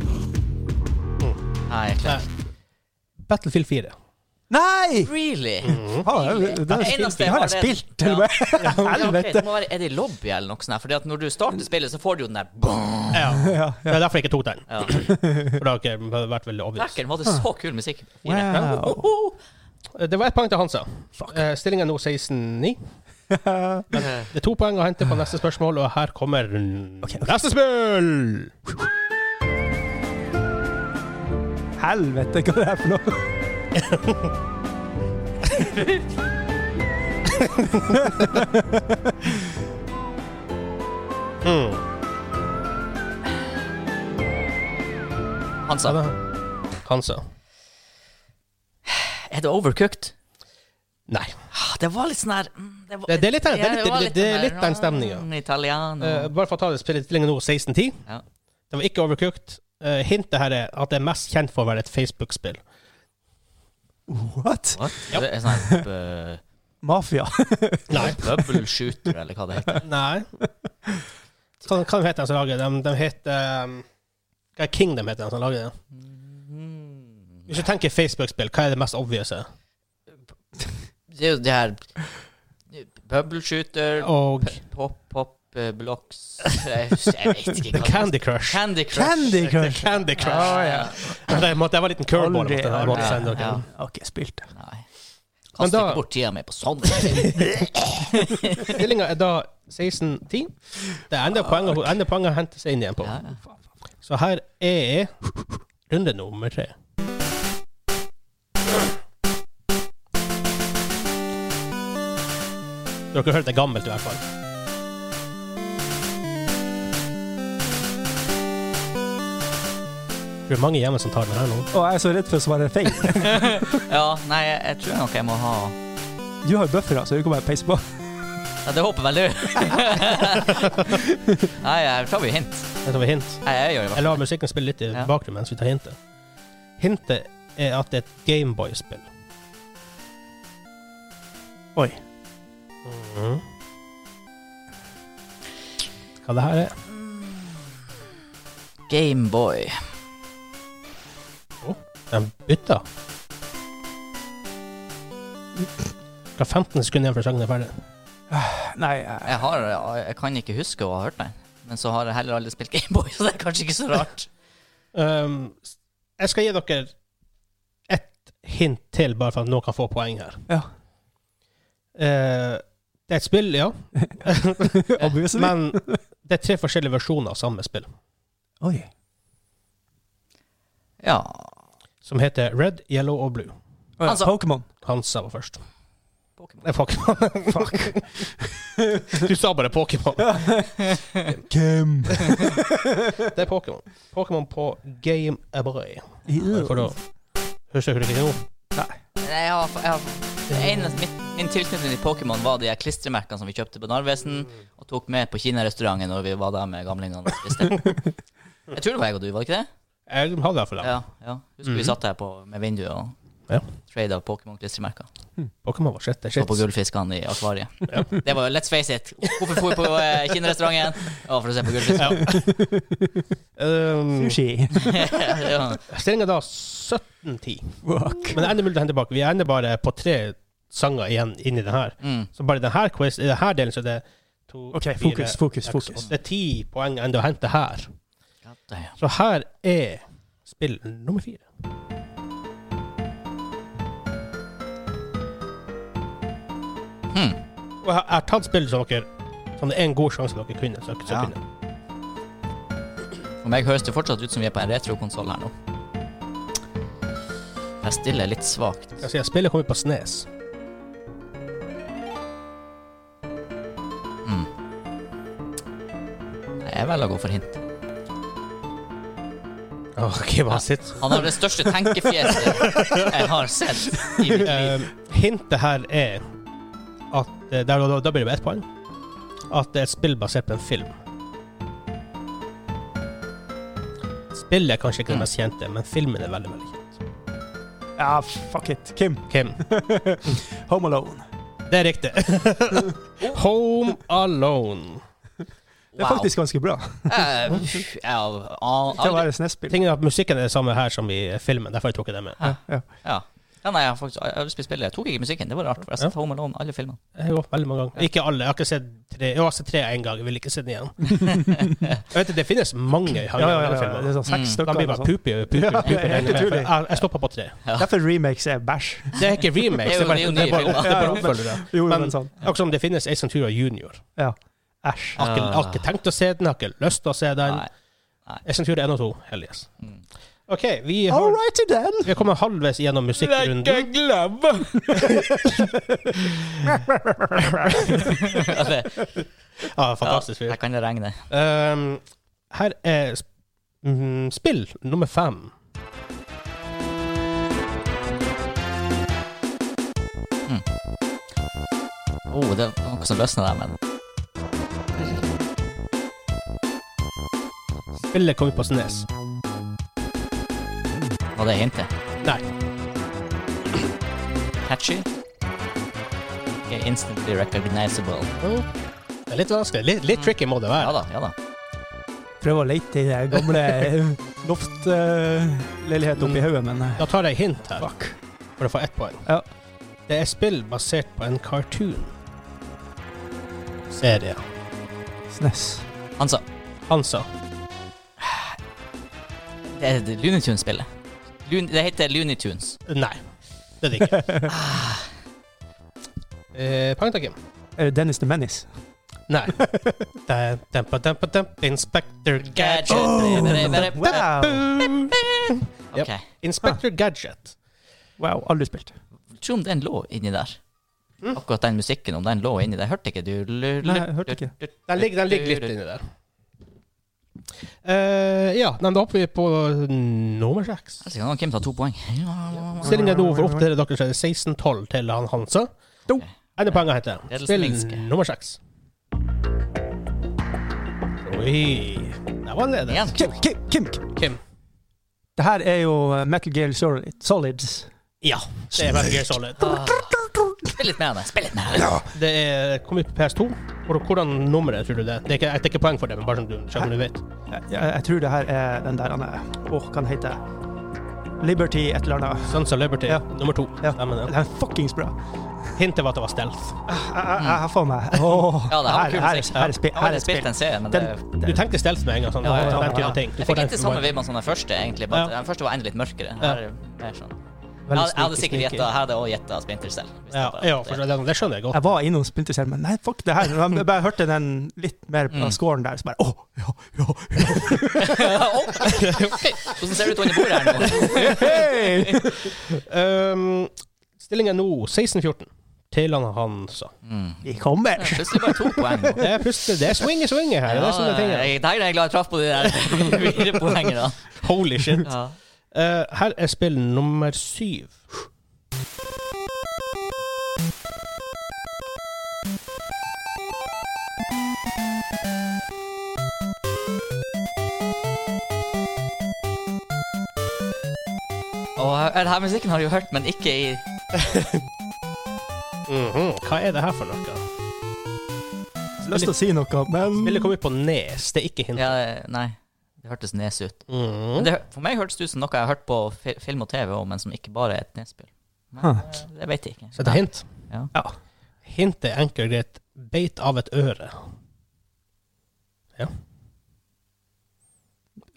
Speaker 2: Mm.
Speaker 3: Nei, jeg klarer ikke.
Speaker 1: Battlefield 4.
Speaker 2: Nei!
Speaker 3: Really?
Speaker 2: Faen, Mm. det, det,
Speaker 3: Det eneste
Speaker 2: det
Speaker 3: jeg
Speaker 2: har
Speaker 3: har,
Speaker 2: jeg
Speaker 3: det-
Speaker 2: spilt, til og med.
Speaker 3: Ja, ok,
Speaker 2: Helvete.
Speaker 3: det må være, er det i lobby eller noe sånt? her? Fordi at når du starter spillet, så får du jo den der boom.
Speaker 1: Ja.
Speaker 2: Ja,
Speaker 1: Det er derfor jeg ikke tok den.
Speaker 3: Ja.
Speaker 1: For det har ikke vært veldig obvious.
Speaker 3: Rackeren, var det så kul musikk? Fire.
Speaker 2: Wow.
Speaker 1: Det var ett poeng til Hansa. Eh, Stillingen er nå 16-9. Det er to poeng å hente på neste spørsmål, og her kommer
Speaker 2: Ok, ok.
Speaker 1: neste spill!
Speaker 2: Helvete, hva er det her for noe?
Speaker 1: Ja,
Speaker 3: Hansa.
Speaker 1: da. Hansa.
Speaker 3: Er det overcooked?
Speaker 1: Nei.
Speaker 3: Ah, Det var litt sånn her mm, var-
Speaker 1: Det- det er litt den- det er
Speaker 3: Ja,
Speaker 1: litt-
Speaker 3: var
Speaker 1: det- det er
Speaker 3: sånn
Speaker 1: litt
Speaker 3: her,
Speaker 1: den stemningen.
Speaker 3: mm, Italiano.
Speaker 1: Eh, bare for å ta det spillet lenge nå, 1610.
Speaker 3: Ja.
Speaker 1: Det var ikke overcooked. Eh, hintet her er at det er mest kjent for å være et Facebook-spill.
Speaker 2: What?
Speaker 3: What? Det er sånn her eh,
Speaker 2: Mafia.
Speaker 1: Nei.
Speaker 3: bubble shooter, eller hva det heter.
Speaker 1: Nei. Hva, hva heter de som lager det? De, de heter um, hva er Kingdom heter de som lager det.
Speaker 3: Mm.
Speaker 1: Hvis du tenker Facebook-spill, hva er det mest obviouse?
Speaker 3: Det er jo det her Bubble shooter,
Speaker 1: Og
Speaker 3: pop, pop, eh, blocks Jeg husker- jeg vet ikke hva det
Speaker 1: Candy Crush.
Speaker 3: Candy Crush.
Speaker 2: Candy Crush.
Speaker 1: Candy Crush.
Speaker 3: Ah,
Speaker 2: ja.
Speaker 1: Det, måtte, det var en liten curveball.
Speaker 2: Aldri,
Speaker 1: jeg måtte, jeg måtte
Speaker 3: aldri.
Speaker 1: sende dere.
Speaker 3: Ja.
Speaker 2: Jeg har ikke spilt det.
Speaker 3: Nei.
Speaker 1: Men
Speaker 3: Kast
Speaker 1: da-
Speaker 3: ikke bort tida mi på sånn.
Speaker 1: Stillinga er da 16-10. Det er enda poeng, å- enda poeng å hente seg inn igjen på.
Speaker 3: Ja, ja.
Speaker 1: Så her er runde nummer tre. Dere har hørt det er gammelt i hvert fall. Det er mange hjemme som tar den her nå.
Speaker 2: Og jeg er så redd for å svare feil.
Speaker 3: ja, nei, jeg, jeg tror nok jeg må ha
Speaker 2: Du har jo buffere, så du kan bare peise på.
Speaker 3: ja, Det håper vel du. nei, jeg tar jo hint.
Speaker 1: Dette var hint.
Speaker 3: Nei, jeg gjør det. i hvert fall.
Speaker 1: Jeg lar musikken spille litt i
Speaker 3: Ja.
Speaker 1: bakgrunnen mens vi tar hintet. Hintet er at det er et Gameboy-spill.
Speaker 2: Oi.
Speaker 1: Mhm. Hva det her er?
Speaker 3: Gameboy.
Speaker 1: Den bytta. Skal 15 sekunder igjen før sangen er ferdig.
Speaker 2: Nei, eh, jeg,
Speaker 3: Jeg, har, jeg kan ikke huske å ha hørt den, men så har jeg heller aldri spilt Gameboy, så det er kanskje ikke så rart.
Speaker 1: Um, s- jeg skal gi dere ett hint til, bare for at noen kan få poeng her.
Speaker 2: Ja.
Speaker 1: Eh, det er et spill, ja.
Speaker 2: obviously.
Speaker 1: Men det er tre forskjellige versjoner av samme spill,
Speaker 2: Oi.
Speaker 3: Ja.
Speaker 1: som heter Red, Yellow og Blue.
Speaker 2: Å ja,
Speaker 3: Altså-
Speaker 2: Pokémon.
Speaker 1: Hansa var først.
Speaker 3: Pokémon.
Speaker 1: Nei, Pokémon. du sa bare Pokémon.
Speaker 2: Kim.
Speaker 1: Det er Pokémon. Pokémon på Game Aboy. For da
Speaker 2: Ew.
Speaker 1: Husker dere ikke nå?
Speaker 3: Nei, Jeg har, jeg har det eneste, min, min tilknytning til Pokémon var de her klistremerkene som vi kjøpte på Narvesen, og tok med på Kina-restauranten når vi var der med gamlingene og spiste. Jeg tror det var jeg og du, var det ikke det?
Speaker 1: Jeg hadde i hvert fall det.
Speaker 3: Ja. ja. Husker vi
Speaker 1: Mhm.
Speaker 3: satt her på, med vinduet og
Speaker 1: Ja.
Speaker 3: trada Pokémon-klistremerker.
Speaker 1: Pokémon var shit. Det er
Speaker 3: Og på
Speaker 1: shit.
Speaker 3: gullfiskene i akvariet. Det var jo Let's face it. Hvorfor dro vi på eh, Kina-restauranten? Ja, for å se på gullfisk.
Speaker 1: Ja. um,
Speaker 2: Sushi.
Speaker 3: ja.
Speaker 1: Stillinga da 17-10.
Speaker 2: Fuck.
Speaker 1: Men det er enda mulig å hente tilbake. Vi er enda bare på tre sanger igjen inni den her.
Speaker 3: Mm.
Speaker 1: Så bare i denne quiz, i denne delen så er det to,
Speaker 2: OK,
Speaker 1: fire,
Speaker 2: fokus, fokus,
Speaker 1: seks,
Speaker 2: fokus.
Speaker 1: åtte. Det er ti poeng enda å hente her.
Speaker 3: Ja, det er-
Speaker 1: Så her er spill nummer fire.
Speaker 3: Hmm.
Speaker 1: Og jeg jeg har tatt spill som dere Som det er en god sjanse dere kunne. Så, så
Speaker 3: Ja.
Speaker 1: kunne.
Speaker 3: For meg høres det fortsatt ut som vi er på en retrokonsoll her nå. Jeg stiller litt svakt.
Speaker 1: Jeg sier, spillet kom ut på Snes.
Speaker 3: Mm. Nei, Jeg velger å gå for hint.
Speaker 1: Ok, bare sitt.
Speaker 3: Han har det største tenkefjeset jeg har sett i mitt liv.
Speaker 1: Eh, hintet her er at eh, der, da, da blir det bare ett poeng. At det er et spill basert på en film. Spillet er kanskje ikke det mest kjente, men filmen er veldig veldig kjent.
Speaker 2: Ja, fuck it. Kim.
Speaker 1: Kim,
Speaker 2: Home Alone.
Speaker 1: det er riktig. Home Alone.
Speaker 2: Det er faktisk ganske bra
Speaker 3: Eh, Jeg har
Speaker 2: til
Speaker 3: al-
Speaker 2: å
Speaker 3: aldri
Speaker 2: være SNES-spill.
Speaker 1: Tingen er at Musikken er det samme her som i filmen, derfor jeg tok jeg det med.
Speaker 2: Ja, ja.
Speaker 3: Ja. Ja, nei, jeg har faktisk aldri spilt spillet. Jeg tok ikke musikken. Det var rart. for Jeg har sett Home Alone, alle filmene.
Speaker 1: Jeg har gått veldig mange ganger. Ikke alle. Jeg har ikke sett tre Jeg har sett tre en gang, jeg vil ikke se den igjen. Jeg vet, Det finnes mange
Speaker 2: Ja, ja, ja, ja. Det
Speaker 1: filmer.
Speaker 2: er sånn
Speaker 3: Mm.
Speaker 2: seks
Speaker 1: De
Speaker 2: stykker.
Speaker 1: blir
Speaker 2: eller
Speaker 1: bare
Speaker 2: sånt.
Speaker 1: poopy og poopy.
Speaker 2: Ja,
Speaker 1: poopy.
Speaker 2: det er helt utrolig.
Speaker 1: Jeg, jeg stopper på tre.
Speaker 2: Derfor remakes er bæsj.
Speaker 1: Det er ikke remake,
Speaker 3: Det er
Speaker 1: det
Speaker 3: jo-
Speaker 1: er bare, sånn
Speaker 3: det er jo
Speaker 1: det er bare, det
Speaker 3: nye
Speaker 1: er bare
Speaker 2: filmer.
Speaker 1: oppfølgere.
Speaker 2: Jo, jo,
Speaker 1: Men-
Speaker 2: men sånn.
Speaker 1: Akkurat som det finnes Ace Ventura Junior.
Speaker 2: Æsj.
Speaker 1: Jeg har ikke- jeg har ikke tenkt å se den, jeg har ikke lyst til å se den.
Speaker 3: Nei.
Speaker 1: Ace Ventura 1 og 2, hell yes.
Speaker 3: Mm.
Speaker 1: OK, vi
Speaker 2: All
Speaker 1: har
Speaker 2: righty then.
Speaker 1: vi har kommet halvveis gjennom musikkrunden.
Speaker 3: glemme!
Speaker 1: Ja, fantastisk. Ehm, fyr.
Speaker 3: Ja, Altså, her kan det regne.
Speaker 1: Um, her er sp- mm, spill nummer fem.
Speaker 3: Oh, det var noe som løsna der, men
Speaker 1: Spillet kom ut på E Snes.
Speaker 3: var det hintet?
Speaker 1: Nei.
Speaker 3: Catchy? Okay, instantly recognizable.
Speaker 1: Det er litt vanskelig. Litt, litt tricky må det
Speaker 3: Ja
Speaker 1: være.
Speaker 3: da, ja da.
Speaker 2: Prøver å lete i den gamle eh, loftleiligheten oppi hodet, men eh,
Speaker 1: Da tar jeg hint her
Speaker 2: fuck.
Speaker 1: for å få ett poeng.
Speaker 2: Ja.
Speaker 1: Det er spill basert på en cartoon. Serie.
Speaker 2: SNES.
Speaker 3: Han sa
Speaker 1: Hansa.
Speaker 3: Det er det Looney Tunes-spillet. Loon- Det heter Looney Tunes.
Speaker 1: Nei. Det er det ikke. Ah. eh, Poeng til Kim.
Speaker 2: Er det Dennis the Menace?
Speaker 1: Nei. Da- Dempa, dempa, dempa, Inspector Gadget.
Speaker 2: Wow.
Speaker 3: Ok.
Speaker 1: Inspector
Speaker 3: Ah.
Speaker 1: Gadget.
Speaker 2: wow, aldri spilt.
Speaker 3: Tro om den lå inni der.
Speaker 1: Mm.
Speaker 3: Akkurat den musikken, om den lå inni der. Hørte ikke du? Lu- lu-
Speaker 2: Nei, jeg hørte ikke.
Speaker 3: du- du-
Speaker 1: Den ligger, den ligger litt inni der. Eh, ja, nei, men da hopper vi på nummer seks.
Speaker 3: Altså, kan Kim ta to poeng.
Speaker 1: Stillingen er nå for oppdatere dere så er det 16-12 til han Hansa.
Speaker 2: Do.
Speaker 1: Enda poeng å hente.
Speaker 3: Ledelse
Speaker 1: Spill
Speaker 3: minsker.
Speaker 1: nummer seks. Oi. Der var det
Speaker 3: Igjen.
Speaker 1: det.
Speaker 2: Kim, Kim, Kim! Kim.
Speaker 1: Kim.
Speaker 2: Det her er jo eh, Metal Gear Solid- Solids.
Speaker 1: Ja. Det er veldig solid.
Speaker 3: Ah. Spill litt mer av det. Spill litt mer av det.
Speaker 1: Det er kommet på PS2. Hvor- Hvordan nummeret tror du det er? Det er ikke, jeg tar ikke poeng for det, men bare sånn du, sånn du vet.
Speaker 2: Jeg, jeg, jeg tror det her er den der han er Åh, hva den heter Liberty et eller annet.
Speaker 1: Sons of Liberty,
Speaker 2: Ja.
Speaker 1: nummer to.
Speaker 2: Ja.
Speaker 1: Stemmer det.
Speaker 2: Den er fuckings bra.
Speaker 1: Hintet var at det var stealth.
Speaker 2: Jeg- Jeg jeg har faen meg Åh,
Speaker 3: Ja, det var
Speaker 2: her,
Speaker 3: kul
Speaker 2: her,
Speaker 3: musikk.
Speaker 2: her, er spi-
Speaker 3: Jeg har
Speaker 2: her
Speaker 3: aldri
Speaker 2: er
Speaker 3: spilt
Speaker 2: spill.
Speaker 3: den serien, men
Speaker 2: Den,
Speaker 3: det
Speaker 1: Du tenkte stealth med en gang. sånn,
Speaker 3: Ja, ja, ja,
Speaker 1: den
Speaker 2: ja.
Speaker 1: type ting. Du
Speaker 3: jeg
Speaker 1: får
Speaker 3: fikk
Speaker 1: den
Speaker 3: litt det samme
Speaker 1: for-
Speaker 3: vibben som den første. egentlig bare at Den første var enda litt mørkere. Her, er det mer sånn. Jeg
Speaker 2: veldig
Speaker 3: hadde- jeg hadde
Speaker 2: sneaky,
Speaker 3: sikkert
Speaker 2: sneaky.
Speaker 3: gjetta Her hadde jeg også gjetta Splinter Cell. hvis jeg
Speaker 1: Ja,
Speaker 3: hadde-
Speaker 1: ja for det, det skjønner jeg godt.
Speaker 2: Jeg var innom Splinter Cell, men nei, fuck det her. Men Jeg bare hørte den litt mer på
Speaker 3: Mm.
Speaker 2: scoren der, så bare åh, ja, ja, ja.
Speaker 3: Oh, ok. Hvordan ser det ut under bordet her nå?
Speaker 2: Hey!
Speaker 1: Um, Stillingen er nå 16-14 til han Hansa.
Speaker 3: Mm.
Speaker 2: Vi kommer!
Speaker 3: Plutselig bare to poeng. nå.
Speaker 1: Det er plutselig det er swing i swinget her. det er sånne ting her.
Speaker 3: jeg, der er jeg glad jeg traff på de der fire poengene.
Speaker 1: Holy shit.
Speaker 3: Ja.
Speaker 1: Eh, her er spill nummer syv.
Speaker 3: Og her- her musikken har jeg jo hørt, men ikke i
Speaker 1: Mhm. Hva er det her for noe?
Speaker 2: Lyst til å si noe, men
Speaker 1: Spillet kom ut på Nes, det er ikke hint.
Speaker 3: ja, Nei, det hørtes nes ut.
Speaker 1: Mhm.
Speaker 3: Men det, hø- for meg hørtes det ut som noe jeg har hørt på fi- film og TV òg, men som ikke bare er et nespill. Men
Speaker 2: Huh.
Speaker 3: eh, det vet jeg ikke.
Speaker 1: Så det er hint.
Speaker 3: Ja.
Speaker 2: Ja.
Speaker 1: Hintet er enkelt og greit. Beit av et øre.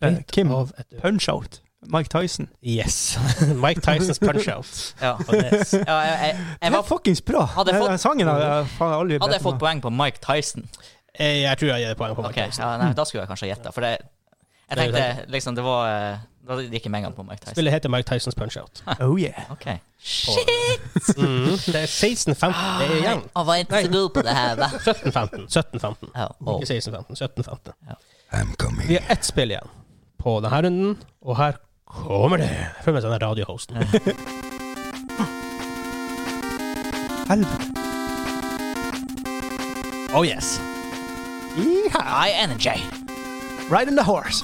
Speaker 2: eh, Kim,
Speaker 1: Av et øre.
Speaker 2: punch out. Mike Tyson.
Speaker 1: Yes. Mike Tysons punch-out.
Speaker 3: Ja.
Speaker 1: på E Nes.
Speaker 3: Ja, jeg, jeg,
Speaker 2: Det
Speaker 3: jeg
Speaker 2: er
Speaker 3: var,
Speaker 2: fuckings bra!
Speaker 3: Hadde jeg
Speaker 2: Den-
Speaker 3: fått-
Speaker 2: Den sangen har jeg faen aldri
Speaker 3: hadde
Speaker 2: bedt
Speaker 3: jeg fått
Speaker 2: meg.
Speaker 3: poeng på Mike Tyson
Speaker 1: Eh, Jeg tror jeg gir det poeng på Mike
Speaker 3: Ok,
Speaker 1: Tyson.
Speaker 3: ja, nei, Da skulle jeg kanskje ha gjetta, for det, jeg
Speaker 1: Det er jo
Speaker 3: tenkte liksom det var eh, Da gikk jeg med en gang på Mike Tyson.
Speaker 1: Spillet heter Mike Tysons Punch-Out.
Speaker 2: Oh yeah.
Speaker 3: Ok
Speaker 1: Mhm. Det er
Speaker 2: Ah,
Speaker 1: 16-15. Det er jevnt.
Speaker 3: Jeg var ikke så god på det her, da.
Speaker 1: 17-15. 17-15.
Speaker 3: Ja, og-
Speaker 1: Ikke 16-15. 17-15.
Speaker 2: I'm coming.
Speaker 1: Vi har ett spill igjen på denne runden, og her kommer det. Jeg føler meg som den radiohosten.
Speaker 2: Helvete.
Speaker 1: Oh yes.
Speaker 2: Yeehaw.
Speaker 3: High energy.
Speaker 2: Riding the horse.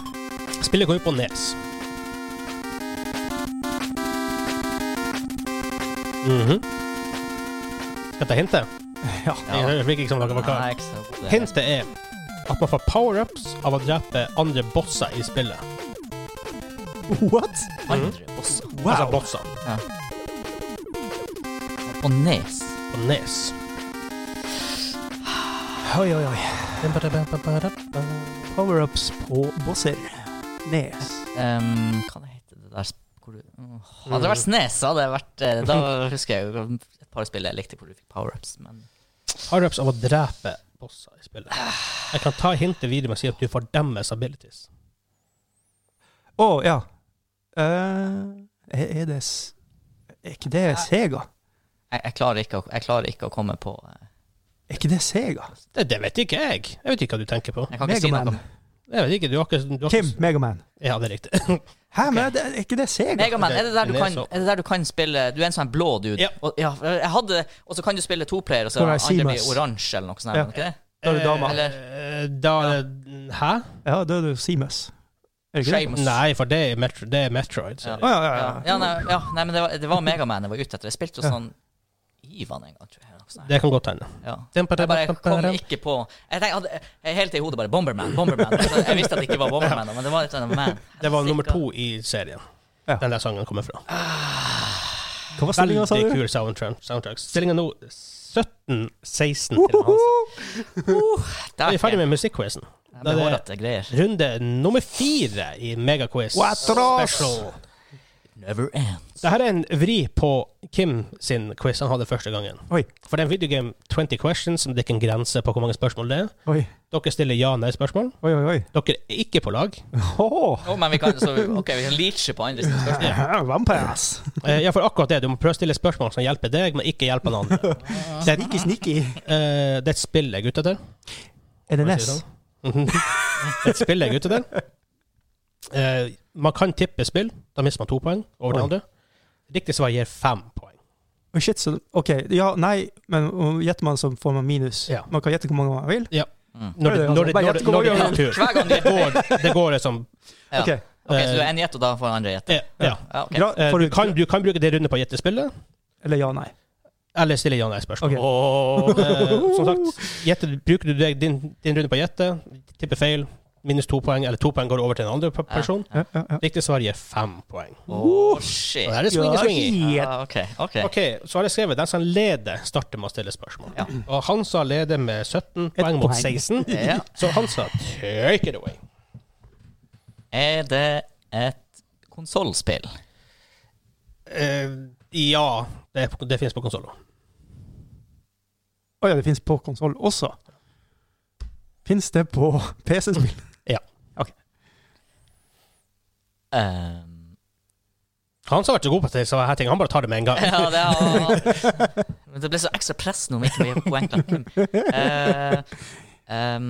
Speaker 1: Spillet går ut på E Nes. Mhm. Skal jeg ta hintet?
Speaker 2: Ja.
Speaker 3: Ja.
Speaker 1: Jeg fikk ikke som dere var
Speaker 3: Nei,
Speaker 1: klar.
Speaker 3: ikke så god. Det-
Speaker 1: Hintet er at man får power-ups av å drepe andre bosser i spillet.
Speaker 2: What?
Speaker 3: Andre bosser.
Speaker 1: Altså
Speaker 2: Wow.
Speaker 1: bosser på
Speaker 3: Ja. Og nes.
Speaker 1: Nes.
Speaker 2: Oi, oi, oi. Power-ups på bosser. Nes.
Speaker 3: Um, hva det heter det der sp- hvor du, Åh, Hadde det
Speaker 1: Mhm.
Speaker 3: vært Snes, så hadde det vært eh, Da husker jeg jo et par spill jeg likte hvor du fikk power-ups, men
Speaker 1: Power-ups av å drepe bosser i spillet. Jeg kan ta hintet videre med å si at du får deres abilities.
Speaker 2: Å, ja. Eh, er er det s- Er ikke det Sega?
Speaker 3: jeg, jeg, klarer ikke å, jeg klarer ikke å komme på eh,
Speaker 2: Er ikke det Sega?
Speaker 1: Det, det vet ikke jeg. Jeg vet ikke hva du tenker på.
Speaker 3: Jeg kan ikke si
Speaker 2: Megaman.
Speaker 3: noe.
Speaker 1: Jeg vet ikke, du har ikke, du har
Speaker 2: Kim,
Speaker 1: ikke
Speaker 2: Megaman.
Speaker 1: Ja, det er riktig.
Speaker 2: Hæ, men er det- er ikke det Sega?
Speaker 3: Megaman, er, det der du
Speaker 1: Den er
Speaker 3: kan-
Speaker 1: så-
Speaker 3: er det der du kan spille Du er en sånn blå dude.
Speaker 1: Ja.
Speaker 3: Og, ja, jeg hadde, og så kan du spille toplayer, og så
Speaker 2: Skal være
Speaker 3: andre blir
Speaker 2: Seamus.
Speaker 3: oransje eller noe sånt.
Speaker 2: Ja.
Speaker 3: er det Ikke det?
Speaker 2: Da er du dama.
Speaker 1: Eh, Da er det Hæ?
Speaker 2: Ja, da er det Seamus. Er det ikke det?
Speaker 3: Seamus.
Speaker 1: Nei, for det er, Metro, det er Metroid. Så.
Speaker 3: Ja.
Speaker 2: Å, ja, ja,
Speaker 3: Ja,
Speaker 2: ja.
Speaker 3: ja, nei, ja, nei, men det var, det var Megaman jeg var ute etter. Jeg spilte jo
Speaker 2: Ja.
Speaker 3: sånn Ivan en gang, tror jeg. eller noe sånt.
Speaker 1: Det kan godt hende.
Speaker 3: Ja.
Speaker 1: Den på-
Speaker 3: Jeg bare kom ikke på Jeg tenkte, jeg hadde, jeg helt i hodet bare Bomberman, Bomberman. Altså, jeg visste at det ikke var Bomberman, men det var litt sånn man.
Speaker 1: Det var nummer to i serien.
Speaker 2: Ja.
Speaker 1: Den der sangen kommer fra.
Speaker 2: Hva var stillinga, sa
Speaker 1: Veldig
Speaker 2: du?
Speaker 1: kul soundtrack. soundtrack. Stillinga nå 17-16 til Hansen.
Speaker 3: Der,
Speaker 1: Vi er ferdig
Speaker 3: jeg,
Speaker 1: med musikkquizen.
Speaker 3: jeg ble hårete greier.
Speaker 1: Runde nummer fire i Megaquiz
Speaker 2: Quattro.
Speaker 1: special.
Speaker 3: Never ends.
Speaker 1: Dette er en vri på Kim sin quiz han hadde første gangen.
Speaker 2: Oi.
Speaker 1: For det er en videogame 20 questions, som det ikke er en grense på hvor mange spørsmål det er.
Speaker 2: Oi,
Speaker 1: Dere stiller ja-nei-spørsmål.
Speaker 2: oi, oi. oi.
Speaker 1: Dere er ikke på lag.
Speaker 2: Oh,
Speaker 3: Å, men vi kan, så, ok, vi kan leache på andre sine spørsmål.
Speaker 2: Vampires.
Speaker 1: Eh, Ja, for akkurat det. Du må prøve å stille spørsmål som hjelper deg, men ikke hjelper den andre. Det er,
Speaker 2: Sneaky, sneaky.
Speaker 1: eh, det er et spill jeg er ute etter.
Speaker 2: Er det E
Speaker 1: Hva
Speaker 2: Ness?
Speaker 1: sier han? Mhm. Det er et spill jeg er ute etter. Eh, Man kan tippe spill. Da mister man to poeng over den
Speaker 2: Oi.
Speaker 1: andre. Riktig svar gir fem poeng.
Speaker 2: Oi, shit, så, ok, ja, nei, men uh, gjetter man så får man minus.
Speaker 1: Ja.
Speaker 2: Man kan gjette hvor mange man vil.
Speaker 1: Når det, når det,
Speaker 2: Bare
Speaker 1: når det,
Speaker 2: gjett hvor
Speaker 1: når det er
Speaker 2: mange
Speaker 1: din tur.
Speaker 3: Mm. Hver gang du
Speaker 1: Det går, det går liksom
Speaker 3: Ja.
Speaker 2: Ok,
Speaker 3: Ok, Så du er en gjett, og da får den andre gjette?
Speaker 1: eh, Ja.
Speaker 3: Ja, ok.
Speaker 2: Gra,
Speaker 1: Eh,
Speaker 2: får
Speaker 1: Du
Speaker 2: du,
Speaker 1: kan, du kan bruke det runde på å gjette spillet,
Speaker 2: eller ja, nei.
Speaker 1: eller stille ja-nei-spørsmål.
Speaker 2: Ok.
Speaker 1: Eh, Som sagt, gjette, bruker du deg- din, din runde på å gjette, tipper feil, minus to poeng, eller to poeng går over til en andre pe- person.
Speaker 2: Ja, ja, ja.
Speaker 1: Riktig svar gir fem poeng.
Speaker 3: Å, shit.
Speaker 1: Og der er det swingy, swingy.
Speaker 2: Ja,
Speaker 3: Ja, ok, ok.
Speaker 1: Ok, så har jeg skrevet den som leder, starter med å stille spørsmål.
Speaker 3: Ja.
Speaker 1: Og Hansa leder med 17
Speaker 2: Et
Speaker 1: poeng mot
Speaker 2: poeng.
Speaker 1: 16.
Speaker 3: Ja.
Speaker 1: Så Hansa, take it away.
Speaker 3: Er det et konsollspill?
Speaker 1: Eh, ja, det, det finnes på konsoller.
Speaker 2: Å ja, det fins på konsoll også. Fins det på PC-spill?
Speaker 3: Um,
Speaker 1: Hansa har vært så god på det, så her ting, han bare tar det med en gang.
Speaker 3: ja, det er Men det ble så ekstra press nå om ikke vi er poeng til Kim. Eh, um,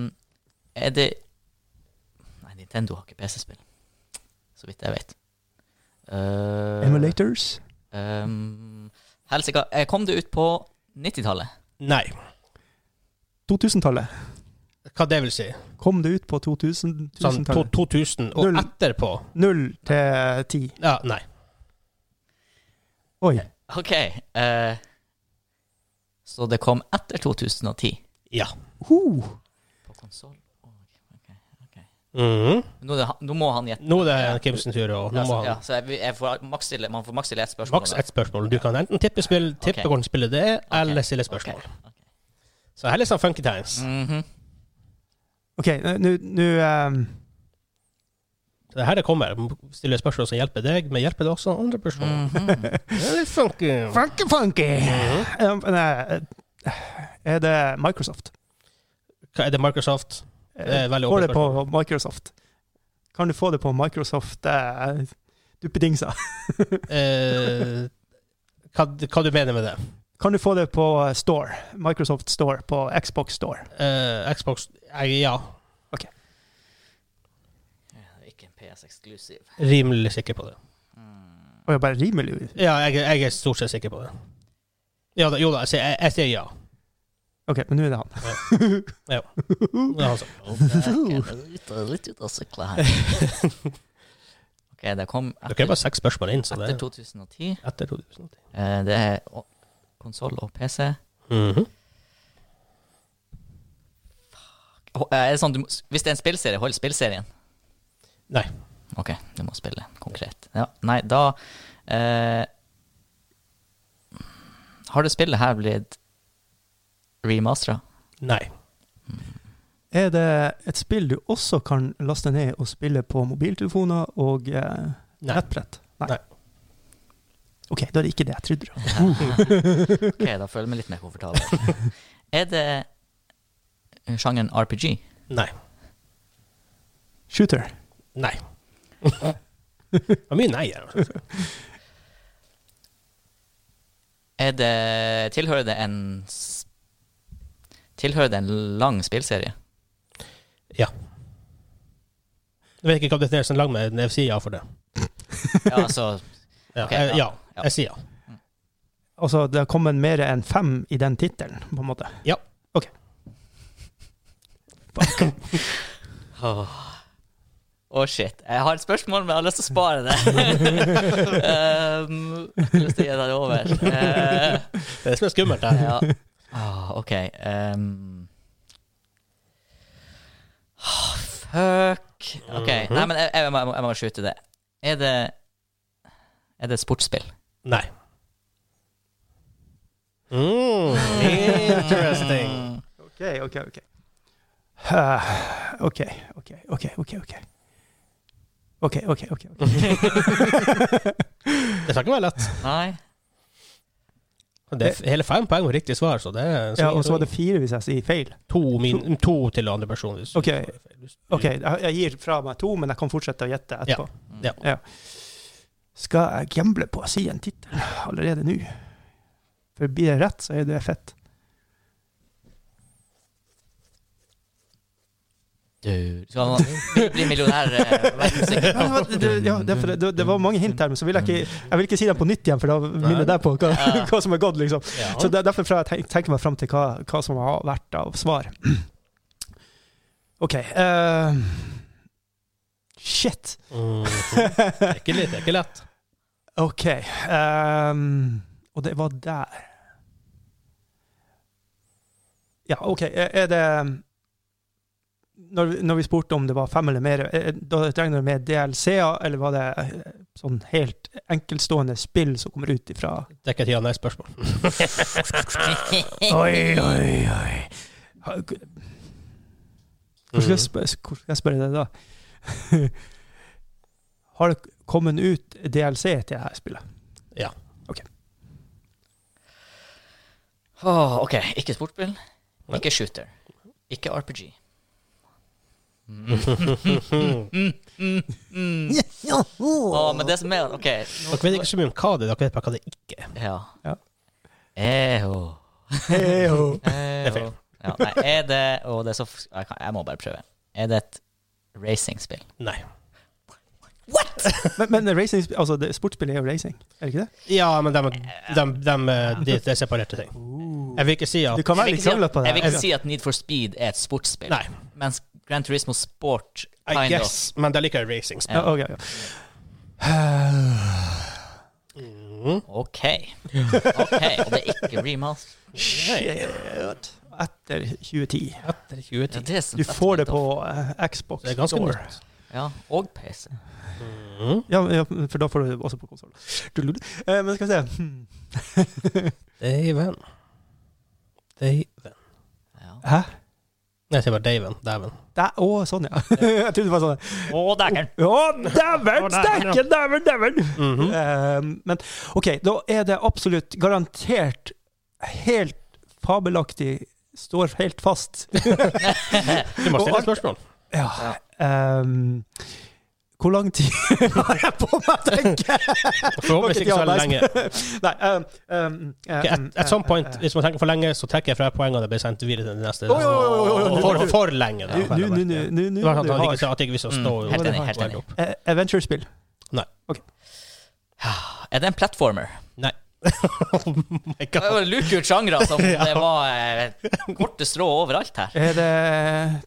Speaker 3: er det Nei, Nintendo har ikke PC-spill, så vidt jeg vet. Eh,
Speaker 2: Emulators?
Speaker 3: Um, Helsika, eh, kom det ut på 90-tallet?
Speaker 1: Nei.
Speaker 2: 2000-tallet.
Speaker 1: Hva det vil si?
Speaker 2: Kom det ut på 2000
Speaker 1: Sånn to-
Speaker 2: 2000-tallet?
Speaker 1: 2000 og
Speaker 2: Null.
Speaker 1: etterpå?
Speaker 2: Null til ti.
Speaker 1: Ja, nei.
Speaker 2: Oi.
Speaker 3: OK. eh, så det kom etter 2010
Speaker 1: Ja.
Speaker 2: Uh,
Speaker 3: på konsoll?
Speaker 1: Mhm.
Speaker 3: Nå, er det han- nå må han gjette.
Speaker 1: Nå er det Kim sin tur, og nå
Speaker 3: Ja,
Speaker 1: må
Speaker 3: så, ja,
Speaker 1: han
Speaker 3: så jeg, jeg får maks stille, man får maks stille ett spørsmål.
Speaker 1: Maks ett spørsmål. Du kan enten tippe spill, tippe
Speaker 3: Ok.
Speaker 1: hvordan spillet det er, eller stille
Speaker 3: Ok,
Speaker 1: spørsmål.
Speaker 3: ok.
Speaker 1: Så her er litt sånn funky times.
Speaker 3: Mhm.
Speaker 2: OK, nå- nå nå, ehm,
Speaker 1: Så det her det kommer. Stille spørsmål som hjelper deg, men hjelper det også andre personer?
Speaker 3: Mhm.
Speaker 1: Det er litt funky.
Speaker 2: Funky, funky! Um, nei, eh, er det Microsoft?
Speaker 1: Hva er det Microsoft? Det er et veldig
Speaker 2: Får
Speaker 1: åpent
Speaker 2: det på Microsoft? Kan du få det på Microsoft eh, duppedingser?
Speaker 1: Eh, hva, hva du mener med det?
Speaker 2: Kan du få det på Store? Microsoft Store på Xbox Store?
Speaker 1: Eh, Xbox eh, Ja,
Speaker 3: Det er Ikke en PS eksklusiv.
Speaker 1: rimelig sikker på det.
Speaker 3: Mm.
Speaker 2: Og jeg bare rimer jo.
Speaker 1: Ja, jeg, jeg er stort sett sikker på det. Ja, da, jo da, jeg, sier- jeg, jeg sier ja.
Speaker 2: OK, men nå er det han.
Speaker 1: Det er han som-
Speaker 3: Ok, det er litt- det er Litt ut av sykla her. OK, det kom
Speaker 1: Dere er
Speaker 3: etter,
Speaker 1: bare seks spørsmål inn, så det
Speaker 3: etter
Speaker 1: er
Speaker 3: 2010.
Speaker 1: etter 2010.
Speaker 3: Eh, Det er konsoll og PC.
Speaker 1: Mhm.
Speaker 3: Ho- eh, Er det sånn, du, må- hvis det er en spillserie, hold spillserien.
Speaker 1: Nei.
Speaker 3: Ok, du må spille konkret. Ja, nei, da eh, Har det spillet her blitt remastera?
Speaker 1: Nei.
Speaker 2: Er det et spill du også kan laste ned og spille på mobiltelefoner og eh,
Speaker 1: Nei.
Speaker 2: nettbrett?
Speaker 1: Nei.
Speaker 2: OK, da er det ikke det jeg trodde.
Speaker 3: Ok, da føler jeg meg litt mer komfortabel. er det sjangeren RPG?
Speaker 1: Nei.
Speaker 2: Shooter.
Speaker 1: Nei. Det var mye nei her. altså.
Speaker 3: Er det Tilhører det en s- Tilhører det en lang spillserie?
Speaker 1: Ja. Jeg vet ikke hva det er som er lag med, men jeg sier ja for det.
Speaker 3: Ja, så
Speaker 1: Ja,
Speaker 3: Ok,
Speaker 1: jeg, ja,
Speaker 3: ja. Ja.
Speaker 1: jeg sier ja.
Speaker 2: Altså, det har kommet mer enn fem i den tittelen, på en måte.
Speaker 1: Ja.
Speaker 2: OK.
Speaker 3: Åh, Åh, shit. Jeg har et spørsmål, men jeg har lyst til å spare det. um, jeg har lyst til å gi deg det over. Eh,
Speaker 1: Det er det som er skummelt her.
Speaker 3: ja. Ah, OK. Um. Ah, fuck. OK.
Speaker 2: Mhm.
Speaker 3: Nei, men jeg, jeg, må, jeg må- jeg må skyte det. Er det Er det et sportsspill?
Speaker 1: Nei. Mm, interesting.
Speaker 2: OK, OK, OK. Eh, OK, OK, OK, OK. OK, OK, OK. ok, ok.
Speaker 1: Det skal ikke være lett.
Speaker 3: Nei?
Speaker 1: Det er f- hele fem poeng og riktig svar, så det er
Speaker 2: Ja, og så var det fire hvis jeg sier feil.
Speaker 1: to, min, to til andre person. Hvis
Speaker 2: Ok.
Speaker 1: Hvis-
Speaker 2: OK, jeg jeg gir fra meg to, men jeg kan fortsette å gjette etterpå.
Speaker 1: Mm.
Speaker 3: Mm.
Speaker 1: Ja.
Speaker 2: Skal jeg gamble på å si en tittel allerede nå? For blir det rett, så er det fett.
Speaker 3: Du skal ha- bli- bli millionær. eh, vær sikker
Speaker 2: Ja,
Speaker 3: på.
Speaker 2: men det, ja, det, er for det, det- det var mange hint her, men så vil jeg ikke, jeg vil ikke si dem på nytt igjen, for da minner jeg deg på hva,
Speaker 3: Ja.
Speaker 2: hva som er gått, liksom.
Speaker 1: Ja.
Speaker 2: Så det er derfor fra jeg tenk- tenker meg fram til hva, hva som har vært av svar. OK. eh, shit.
Speaker 1: Mm, det, er ikke, litt- det er ikke lett.
Speaker 2: OK. ehm, og det var der. Ja, OK. Er er det når, vi- når vi spurte om det var fem eller mer, er- da regner du med DLC-er, eller var det eh, sånn helt enkeltstående spill som kommer ut ifra
Speaker 1: Det er Mm. ikke et ja-nei-spørsmål.
Speaker 2: Oi, oi, oi. Ha- Hvor skal jeg spørre, hvor skal jeg spørre deg da? Har det kommet ut DLC til dette spillet?
Speaker 3: Åh, Ah, ok, ikke sportbil,
Speaker 1: Nei.
Speaker 3: ikke shooter, ikke RPG. Åh, Ah, men det som er Ok. nå-
Speaker 1: Dere vet ikke så mye om hva det er, dere vet bare hva det ikke er.
Speaker 3: Ja.
Speaker 2: Ja.
Speaker 3: Eho.
Speaker 2: Heyo.
Speaker 3: Det
Speaker 1: er feil.
Speaker 3: Ja, nei, er det Åh, det er så f- jeg, kan, jeg må bare prøve. Er det et racingspill?
Speaker 1: Nei.
Speaker 2: Men, men racing, altså, det, sportsspill er jo racing, er det ikke det?
Speaker 1: Ja, men de, de, de, eh, de, det er separerte ting. Jeg vil ikke si at
Speaker 2: Du kan
Speaker 3: Jeg
Speaker 2: være
Speaker 3: vil
Speaker 2: litt
Speaker 3: ikke si
Speaker 2: samla
Speaker 3: at,
Speaker 2: på det.
Speaker 3: jeg vil ikke si at Need for Speed er et sportsspill,
Speaker 1: Nei.
Speaker 3: mens Gran Turismo Sport
Speaker 1: I
Speaker 3: kind of
Speaker 1: guess, men det er likevel racing.
Speaker 2: Ja, ok, ja.
Speaker 1: Mm.
Speaker 3: OK. Ok, Og det er ikke remast.
Speaker 2: Shit. Etter 2010.
Speaker 1: Etter 2010.
Speaker 3: det er så-
Speaker 2: Du får det på eh, Xbox
Speaker 1: Det er ganske
Speaker 2: Store.
Speaker 1: nytt.
Speaker 3: Ja, og PC.
Speaker 1: Mm.
Speaker 2: Ja, ja, for da får du det også på konsoll. Men skal vi se hmm.
Speaker 1: Daven. Daven.
Speaker 3: Ja.
Speaker 2: Hæ?
Speaker 1: Nei, jeg sier bare Daven. Daven.
Speaker 2: Dæ- Å, sånn, ja. Jeg trodde det var sånn.
Speaker 3: Å, dæken!
Speaker 2: Å, dæven
Speaker 1: Å, dæven, ja.
Speaker 2: steike! Dæven, dæven!
Speaker 1: Mhm.
Speaker 2: Eh, men OK, da er det absolutt garantert helt fabelaktig Står helt fast.
Speaker 1: Du må
Speaker 2: Og
Speaker 1: stille
Speaker 2: alt-
Speaker 1: et spørsmål.
Speaker 2: Ja. ehm, hvor lang tid har jeg på meg å tenke?
Speaker 1: Forhåpentligvis ikke så
Speaker 2: Ja, nei,
Speaker 1: lenge.
Speaker 2: Nei, ehm, ehm,
Speaker 1: Ok,
Speaker 2: ehm,
Speaker 1: at, at some point,
Speaker 2: ehm,
Speaker 1: hvis man tenker for lenge, så trekker jeg fra poengene og det blir sendt videre til den neste.
Speaker 2: Oi, oi, oi, oi, oi, oi,
Speaker 1: for,
Speaker 2: nå-
Speaker 1: for lenge. da.
Speaker 2: Du-
Speaker 1: Bare-
Speaker 2: nu- nu- nu-
Speaker 1: bare-
Speaker 2: nu- nu-
Speaker 1: Det var sånn
Speaker 2: du
Speaker 1: at han
Speaker 2: har-
Speaker 1: ikke, at jeg ikke visste å
Speaker 3: Mm,
Speaker 1: stå
Speaker 3: helt enig, helt enig.
Speaker 2: eh, Adventure-spill.
Speaker 3: Er det en platformer?
Speaker 1: Oh my
Speaker 3: Det var
Speaker 1: god.
Speaker 3: jo luke ut sjangre som det var eh, korte strå overalt her.
Speaker 2: Er det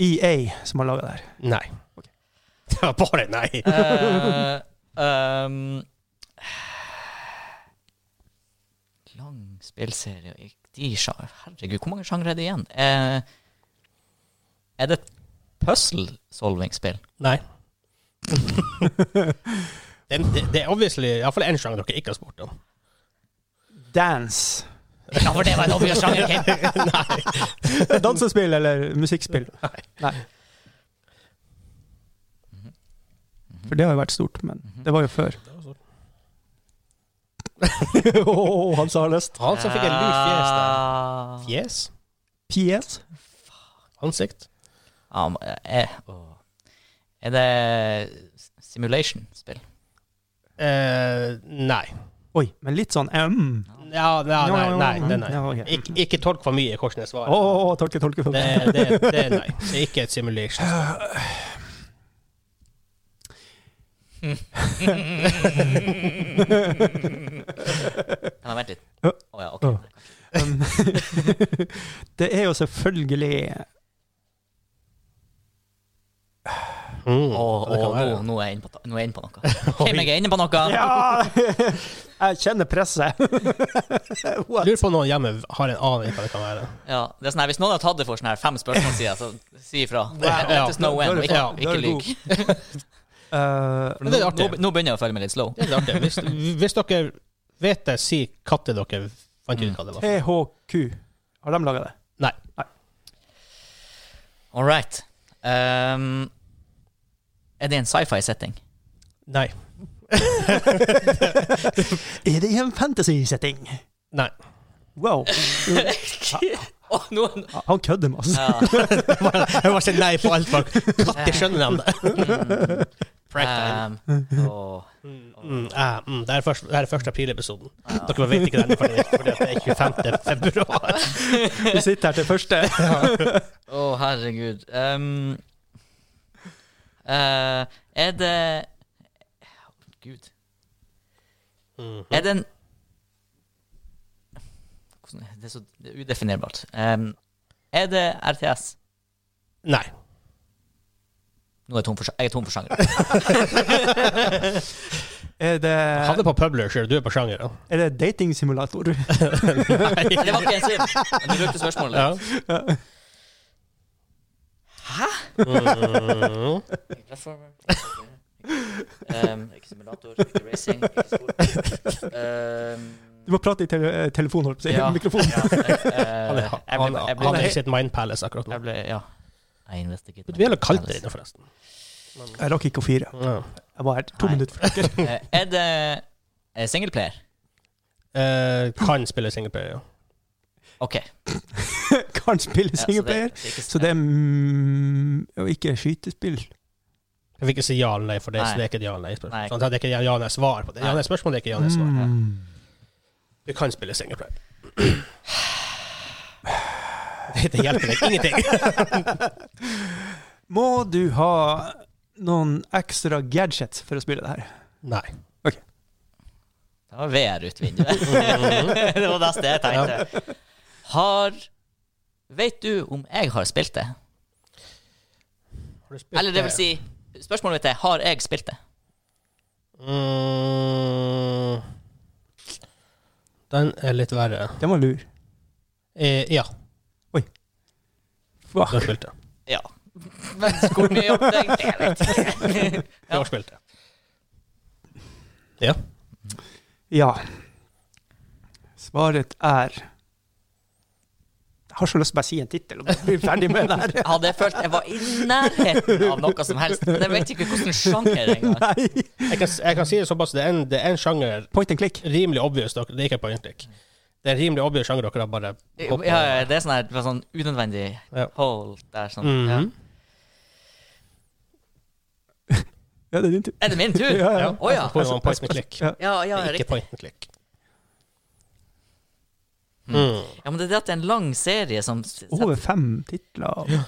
Speaker 2: EA E som har laga det her?
Speaker 1: Nei.
Speaker 2: Ok.
Speaker 1: Det var bare nei.
Speaker 3: Eh, ehm, lang spillserie og ikke de sjangre. Herregud, hvor mange sjangre er det igjen? Eh, er det et puzzle-solving-spill?
Speaker 1: Nei. det, det, det er obviously iallfall én sjanger dere ikke har spurt om.
Speaker 2: Dance.
Speaker 3: Ja, for det var en obvious sjanger, Kim.
Speaker 2: Dansespill eller musikkspill? Nei. For det har jo vært stort, men det var jo før. Åh, han sa lyst.
Speaker 1: Han som fikk en lur fjes der.
Speaker 3: Ah.
Speaker 1: Fjes?
Speaker 2: PS?
Speaker 1: Ansikt?
Speaker 3: Ja, men, eh, åh. Er det simulation-spill?
Speaker 1: Eh, nei.
Speaker 2: Oi, men litt sånn mm.
Speaker 1: Ja, nei, nei, nei, nei, nei.
Speaker 2: Ja, ok.
Speaker 1: Ik ikke tolk for mye hvordan jeg
Speaker 2: Å,
Speaker 1: svarer.
Speaker 2: å, å, tolke, tolke, tolke.
Speaker 1: Det, det, det, nei. det er ikke et simulation.
Speaker 3: Kan jeg vente litt?
Speaker 2: Ja.
Speaker 3: Å ja, ok.
Speaker 2: Um, det er jo selvfølgelig
Speaker 1: Mm.
Speaker 3: Å,
Speaker 1: det kan
Speaker 3: å,
Speaker 1: være.
Speaker 3: nå, nå er jeg inne på, nå er jeg inne på noe. Kim, jeg er inne på noe.
Speaker 2: Ja! Jeg kjenner presset.
Speaker 1: Jeg Lurer på om noen hjemme har en aning hva det kan være.
Speaker 3: Ja, det er sånn her, Hvis noen har tatt det for sånn her fem spørsmål siden, så si ifra.
Speaker 1: Ja.
Speaker 3: Let us know when. og Ikke,
Speaker 1: Ja,
Speaker 3: ikke lyg.
Speaker 2: Uh,
Speaker 1: Men det er
Speaker 3: Nå,
Speaker 1: artig.
Speaker 3: nå begynner jeg å følge meg litt slow.
Speaker 1: Det er litt artig. Hvis, hvis dere vet det, si katter dere fant ut hva det var.
Speaker 2: THQ. Har de laga det?
Speaker 3: All right. Ehm, er det en sci-fi-setting?
Speaker 1: Nei.
Speaker 2: Er det i en fantasy-setting?
Speaker 1: Nei.
Speaker 2: Wow.
Speaker 3: Åh, nå-
Speaker 2: Han kødder masse.
Speaker 3: Ja.
Speaker 1: Jeg bare, jeg bare sier nei på alt. Bare. Katter skjønner dem det.
Speaker 3: Mm.
Speaker 1: Prank
Speaker 3: Ehm, åh.
Speaker 1: Mm, ah, mm, det er først- det her er første april-episoden. Dere vet ikke den, fordi fordi at det er 25. februar.
Speaker 2: Vi sitter her til første.
Speaker 3: Å, herregud. Ehm, eh, er det Gud.
Speaker 1: Mm.
Speaker 3: Er det en Hvordan, Det er så det er udefinerbart. Ehm, er det RTS?
Speaker 1: Nei.
Speaker 3: Nå er jeg tom for, sja- jeg er tom for sjanger.
Speaker 2: Er det,
Speaker 3: Eh.
Speaker 1: Jeg hadde på publisher, du er på sjanger.
Speaker 3: Mm.
Speaker 1: da.
Speaker 2: er det datingsimulator?
Speaker 3: Det var ikke en sim. Men du brukte spørsmålet.
Speaker 1: Ja.
Speaker 3: Platformer. Ehm, ikke simulator, ikke racing, ikke sport. Ehm,
Speaker 2: Du må prate i tele telefonen, holdt jeg på å si.
Speaker 3: ja,
Speaker 2: Mikrofon.
Speaker 3: ja, eh,
Speaker 1: Han er,
Speaker 3: jeg
Speaker 1: han,
Speaker 3: ble- jeg ble-
Speaker 1: han er i sitt mind palace akkurat nå.
Speaker 3: Jeg ble, ja. Jeg investigerte.
Speaker 1: Det blir jævlig kaldt der inne, forresten.
Speaker 2: Jeg rakk ikke å fyre.
Speaker 1: Ja.
Speaker 2: Jeg var her to
Speaker 3: Nei.
Speaker 2: minutter for dere.
Speaker 3: Eh, Er det eh, singleplayer?
Speaker 1: Eh, kan spille singleplayer, ja.
Speaker 3: OK. Ja,
Speaker 2: Kan spille
Speaker 3: så det-
Speaker 2: singleplayer.
Speaker 3: det er ikke-
Speaker 2: Så det er mm, jo ikke skytespill.
Speaker 1: Jeg fikk ikke si ja eller nei, for det,
Speaker 3: Nei.
Speaker 1: så det er ikke et ja eller nei-spørsmål.
Speaker 3: Nei.
Speaker 1: Sånn, det er ikke et ja eller nei-svar på det. Ja eller nei-spørsmål er ikke ja eller nei-svar.
Speaker 2: Mm.
Speaker 1: Du kan spille singleplayer. Det det hjelper deg ingenting.
Speaker 2: Må du ha noen ekstra gadgets for å spille det her?
Speaker 1: Nei.
Speaker 3: Det var VR ut vinduet. det var det jeg tenkte. Har Vet du om jeg har spilt det?
Speaker 1: Har du spilt
Speaker 3: Eller det vil si Spørsmålet mitt er har jeg spilt det.
Speaker 1: Mm. Den er litt verre.
Speaker 2: Den var lur.
Speaker 1: Eh, ja,
Speaker 2: Fuck.
Speaker 1: du har spilt det.
Speaker 3: Ja. Men hvor mye jobb det er, det vet jeg ikke.
Speaker 1: Du har spilt det. Ja.
Speaker 2: Ja. Svaret er Jeg har så lyst til å bare si en tittel og bare bli ferdig med det her.
Speaker 3: Hadde jeg følt jeg var i nærheten av noe som helst. Men jeg vet ikke hvilken sjanger engang.
Speaker 2: Nei.
Speaker 1: Jeg kan, jeg kan si det såpass. Det er en, det er en sjanger
Speaker 2: Point and click.
Speaker 1: rimelig obvious. dere- Det er ikke på inntrykk. Det er en rimelig obvious sjanger dere har bare
Speaker 3: Ja,
Speaker 1: hoppet
Speaker 3: ja, det er sånn her det var sånn unødvendig
Speaker 1: Ja.
Speaker 3: hold der. Sånn.
Speaker 1: Mhm.
Speaker 3: ja.
Speaker 2: Ja, det er din tur.
Speaker 3: Er det min tur?
Speaker 2: Ja,
Speaker 3: Å
Speaker 2: ja.
Speaker 3: ja. ja.
Speaker 1: Det var en point and click.
Speaker 2: Ja.
Speaker 3: Ja, ja,
Speaker 1: Ikke
Speaker 3: riktig.
Speaker 1: point and click.
Speaker 3: Mm.
Speaker 1: Mm.
Speaker 3: ja, men det er det at det er en lang serie som
Speaker 2: Over fem titler. Ja.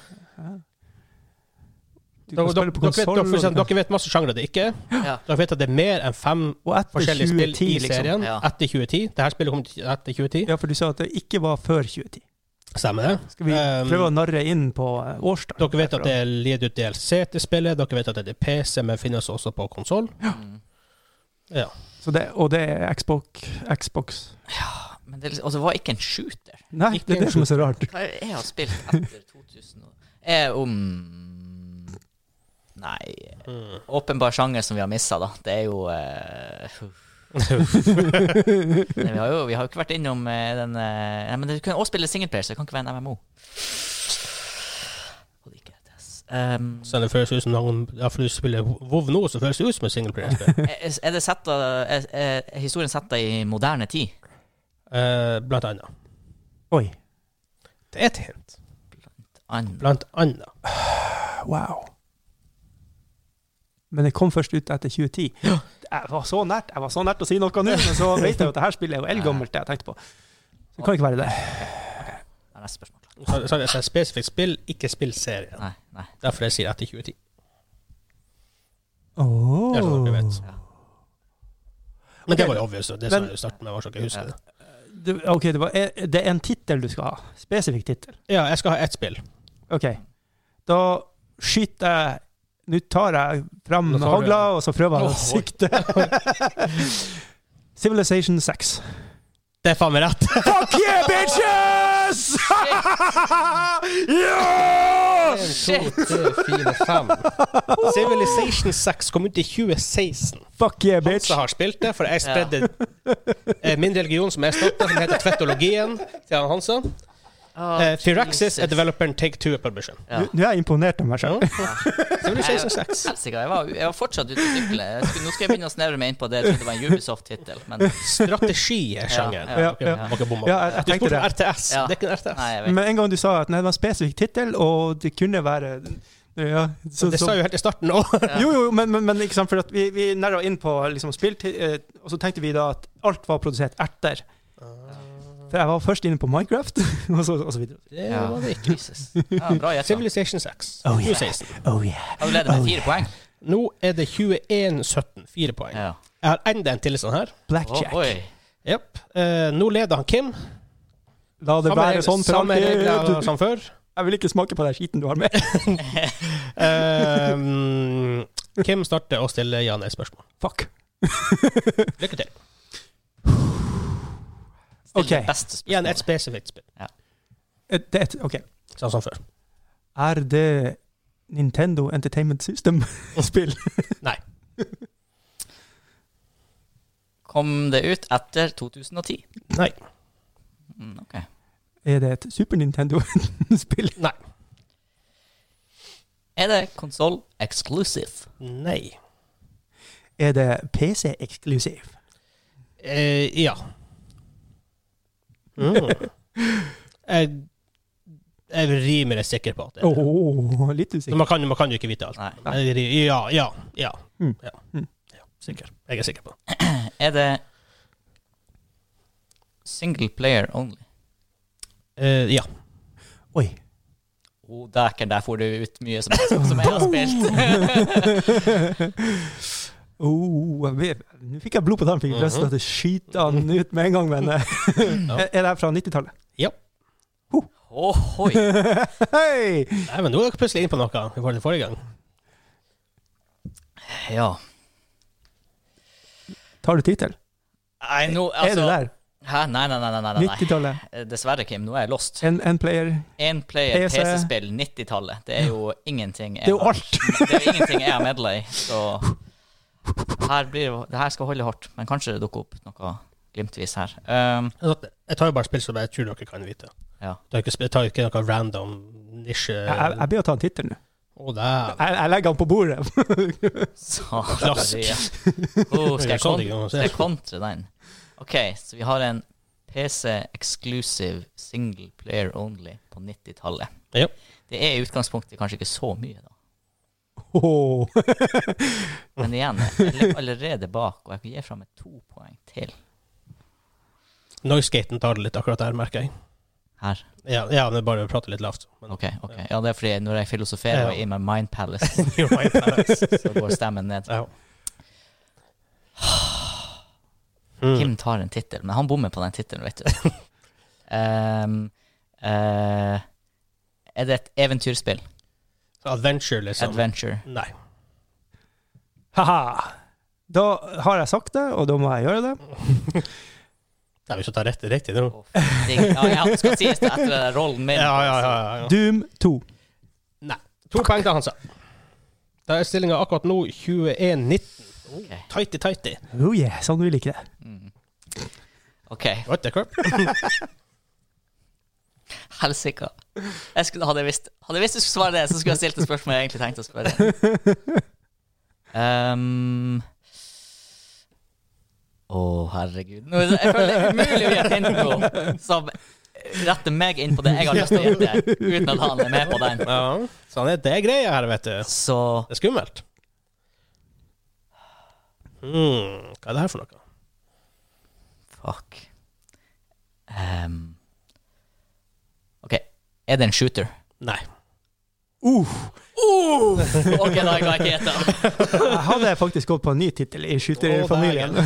Speaker 2: Du
Speaker 1: Dere,
Speaker 2: kan
Speaker 1: dere,
Speaker 2: spille på
Speaker 1: dere, vet, dere, for
Speaker 2: konsoll.
Speaker 1: eksempel, dere vet masse sjangre det ikke er.
Speaker 3: Ja.
Speaker 1: Dere vet at det er mer enn fem
Speaker 2: Og etter
Speaker 1: forskjellige spill
Speaker 2: 2010,
Speaker 1: i
Speaker 2: liksom.
Speaker 1: serien
Speaker 3: Ja.
Speaker 1: etter 2010. Dette spillet kom til- etter 2010.
Speaker 2: Ja, for du sa at det ikke var før 2010.
Speaker 1: Stemmer det?
Speaker 2: Skal vi
Speaker 1: Um,
Speaker 2: prøve å narre inn på eh, årstall?
Speaker 1: Dere vet at det er ledd ut DLC til spillet. Dere vet at det er PC, men finnes også på konsoll.
Speaker 3: Mm.
Speaker 1: Ja.
Speaker 2: Så det, og det er Xbox, Xbox.
Speaker 3: Men det, er liksom- og det var ikke en shooter.
Speaker 2: Nei,
Speaker 1: Ikke
Speaker 2: det er det som er så rart.
Speaker 3: Hva er det jeg har spilt etter 2000 og, er om Nei
Speaker 1: Mm.
Speaker 3: Åpenbar sjanger som vi har missa, da. Det er jo eh, Nei, vi, har jo vi har jo ikke vært innom eh, den eh, Nei, men du kan også spille singleplayer, så det kan ikke være en MMO. Og det er ikke RTS. Um,
Speaker 1: Så det føles ut som noen Ja, for du spiller WoW nå, så føles det ut som et singleplayer-spill.
Speaker 3: er, er, det setta, er, er historien setta i moderne tid?
Speaker 1: Eh, blant annet.
Speaker 2: Oi.
Speaker 1: Det er et hint.
Speaker 3: An-
Speaker 1: Blant annet.
Speaker 2: Wow. Men det kom først ut etter 2010. Jeg var så nært jeg var så nært å si noe nå, men så vet jeg jo at det her spillet er jo eldgammelt, det jeg tenkte på. Så det kan ikke være det.
Speaker 3: Det er neste spørsmål.
Speaker 1: Så, så det er et spesifikt spill, ikke spillserie.
Speaker 3: Nei, nei.
Speaker 1: Derfor jeg sier etter 2010.
Speaker 2: Oh.
Speaker 1: Det er sånn at dere vet.
Speaker 3: Ja.
Speaker 1: Men det
Speaker 2: Ok.
Speaker 1: var jo obvious. Det som
Speaker 2: Men-
Speaker 1: du startet med, var så ikke jeg husker det.
Speaker 2: Du, ok, det, var, er- det er en tittel du skal ha. Spesifikk tittel.
Speaker 1: Ja, jeg skal ha ett spill.
Speaker 2: OK. Da skyter jeg Nå tar jeg fram
Speaker 1: Nå tar du-
Speaker 2: hagla, og så prøver jeg å
Speaker 1: Åh, oi.
Speaker 2: sikte. Civilization 6.
Speaker 1: Det er faen meg rett!
Speaker 2: Fuck yeah, bitches! ja!
Speaker 3: Shit!
Speaker 1: 2, 3, 4, 5. Civilization 6 kom ut i 2016.
Speaker 2: Fuck yeah, bitch.
Speaker 1: Hansa har spilt det, for jeg spredde eh, min religion som jeg støtter, som heter Tvettologien, til han Hansa. Eh, Firaxis er developeren Take Two er publisheren.
Speaker 3: Ja.
Speaker 2: Nå nå er jeg imponert over meg
Speaker 1: Ja.
Speaker 2: sjøl.
Speaker 1: Civilization 6.
Speaker 3: Helsike, jeg, var- jeg var fortsatt ute og sykle. Jeg skulle- Nå skal jeg begynne å snevre meg inn på det. Jeg trodde det var en Ubisoft-tittel, men
Speaker 1: Strategi er sjangeren.
Speaker 3: Ja, ja,
Speaker 1: Ok,
Speaker 2: ja.
Speaker 1: må ikke bomme.
Speaker 2: Ja, jeg- jeg
Speaker 1: du
Speaker 2: tenkte
Speaker 1: spurte om
Speaker 2: det.
Speaker 1: RTS.
Speaker 3: Ja.
Speaker 1: Det er ikke en RTS.
Speaker 3: nei, jeg vet
Speaker 2: Men en gang du sa at nei, det var en spesifikk tittel, og det kunne være ja, så,
Speaker 1: det
Speaker 2: så-
Speaker 1: sa jeg jo helt i starten òg.
Speaker 3: ikke.
Speaker 2: Jo, jo, men, men, men ikke sant, for at vi, vi nærma inn på liksom, spill, til- eh, og så tenkte vi da at alt var produsert etter.
Speaker 1: Ah.
Speaker 2: For jeg var først inne på Minecraft, og så, og så videre.
Speaker 1: Det
Speaker 3: Ja.
Speaker 1: var det ikke.
Speaker 3: Jesus. Ja, bra gjetta.
Speaker 1: Civilization 6.
Speaker 2: Oh, yeah.
Speaker 1: 2016.
Speaker 2: Oh yeah.
Speaker 3: Har du ledet med fire poeng?
Speaker 1: Nå er det 21-17. Fire poeng.
Speaker 3: Ja.
Speaker 1: Jeg har enda en til sånn her.
Speaker 2: Blackjack.
Speaker 3: Å, oi.
Speaker 1: Jepp. Eh, nå leder han Kim.
Speaker 2: La det
Speaker 1: Samme
Speaker 2: være
Speaker 1: regler-
Speaker 2: sånn for
Speaker 1: samme regler
Speaker 2: alltid.
Speaker 1: som før.
Speaker 2: Jeg vil ikke smake på den skiten du har med.
Speaker 1: Ehm, Kim starter å stille ja-nei-spørsmål.
Speaker 2: Fuck.
Speaker 1: Lykke til.
Speaker 3: Still
Speaker 2: Ok.
Speaker 3: det beste spørsmålet.
Speaker 1: Igjen et spesifikt spill.
Speaker 2: Eh, Det, er et- OK.
Speaker 1: Sånn som før.
Speaker 2: Er det Nintendo Entertainment System-spill?
Speaker 3: Kom det ut etter 2010?
Speaker 1: Nei.
Speaker 3: Mm, ok.
Speaker 2: Er det et Super Nintendo-spill?
Speaker 3: Er det konsoll exclusive?
Speaker 1: Nei.
Speaker 2: Er det PC-eksklusiv?
Speaker 1: Eh, ja. Mm. Jeg, jeg er rimelig sikker på at det er det.
Speaker 2: Åh, litt
Speaker 1: Men
Speaker 2: usikker.
Speaker 1: Man kan, man kan jo ikke vite alt.
Speaker 3: Nei.
Speaker 1: Jeg er ri- Ja, ja, ja.
Speaker 2: Mm.
Speaker 1: ja.
Speaker 2: Mm.
Speaker 1: ja sikker. Jeg er sikker på det.
Speaker 3: Er det single player only?
Speaker 1: Eh, ja.
Speaker 2: Oi.
Speaker 3: Oh, Dæken, der får du ut mye som, som jeg har spilt.
Speaker 2: Oh, jeg vet- Nå fikk jeg blod på tann,
Speaker 3: Mhm.
Speaker 2: fikk lyst til å skyte han ut med en gang, men eh, Er er det her fra 90-tallet?
Speaker 3: Ohoi.
Speaker 2: Hei!
Speaker 1: Nei, men nå er dere plutselig inne på noe i forhold til forrige gang.
Speaker 3: Ja.
Speaker 2: Tar du tittel?
Speaker 3: Nei, nå,
Speaker 2: Er du
Speaker 3: altså
Speaker 2: der?
Speaker 3: Hæ? Nei, nei, nei. nei, nei, nei.
Speaker 2: 90-tallet.
Speaker 3: Eh, Dessverre, Kim. Nå er jeg lost.
Speaker 2: En, en player.
Speaker 3: Én player
Speaker 2: PC.
Speaker 3: PC-spill 90-tallet. Det er jo ingenting jeg
Speaker 2: Det er jo
Speaker 3: har-
Speaker 2: alt.
Speaker 3: Det er jo ingenting jeg har medla i, så her blir, det- det her skal holde hardt. Men kanskje det dukker opp noe glimtvis her. Um,
Speaker 1: Altså, Jeg tar jo bare spill som jeg tror dere kan vite.
Speaker 3: Ja.
Speaker 1: Det er ikke, jeg tar jo ikke noe random nisje...
Speaker 2: Jeg, jeg, jeg ber å ta en tittel nå.
Speaker 1: Å, der.
Speaker 2: Jeg, jeg legger han på bordet.
Speaker 1: Klask.
Speaker 3: Sataria. Oh, skal
Speaker 1: Sånn
Speaker 3: jeg kon-
Speaker 1: ting kan man si.
Speaker 3: skal jeg kontre den? OK, så vi har en PC exclusive single player only på 90-tallet.
Speaker 1: Ja.
Speaker 3: Det er i utgangspunktet kanskje ikke så mye, da.
Speaker 2: Åh.
Speaker 3: Men igjen, jeg ligger allerede bak, og jeg gir fra meg to poeng til
Speaker 1: Noisegaten tar det litt akkurat der, merker jeg.
Speaker 3: her.
Speaker 1: Ja, ja men bare prate litt lavt. Men,
Speaker 3: Ok, ok. Ja, det er fordi når jeg filosoferer og er i my mind palace,
Speaker 1: You're right, Alex.
Speaker 3: så går stemmen ned.
Speaker 1: ja. Mm. Hmm.
Speaker 3: Kim tar en tittel, men han bommer på den tittelen, vet du. Ehm, eh, er det et eventyrspill?
Speaker 1: Adventure, liksom.
Speaker 3: Adventure.
Speaker 1: Nei.
Speaker 2: Haha. Da har jeg sagt det, og da må jeg gjøre det.
Speaker 1: Nei, vi skal ta rett riktig nå.
Speaker 3: Å, f- det- Ja, ja, det skal sies det etter den rollen min.
Speaker 1: Ja, ja, ja. ja, ja.
Speaker 2: Doom 2.
Speaker 1: To poeng til Hansa. Da er stillinga akkurat nå 21-19.
Speaker 3: Ok.
Speaker 1: Tighty-tighty.
Speaker 2: Oh yeah, sånn vil ikke det.
Speaker 3: Mm. OK.
Speaker 1: What the crap?
Speaker 3: Helsike. Jeg skulle- Hadde jeg visst Hadde jeg visst du skulle svare det, så skulle jeg stilt det spørsmålet jeg egentlig tenkte å spørre. Ehm, Å, herregud. Nå, er det- jeg føler det er umulig å gi et hint nå som retter meg inn på det jeg har lyst til å gjette, uten at han er med på den.
Speaker 1: Ja. Sånn er det greia her, vet du.
Speaker 3: Så
Speaker 1: Det er skummelt. Mm, hva er det her for noe?
Speaker 3: Fuck. Ehm. OK. Er det en shooter?
Speaker 1: Nei.
Speaker 2: Uh,
Speaker 3: OK, da ga jeg ikke gjette.
Speaker 2: jeg hadde faktisk gått på en ny tittel i skyterfamilien.
Speaker 1: Da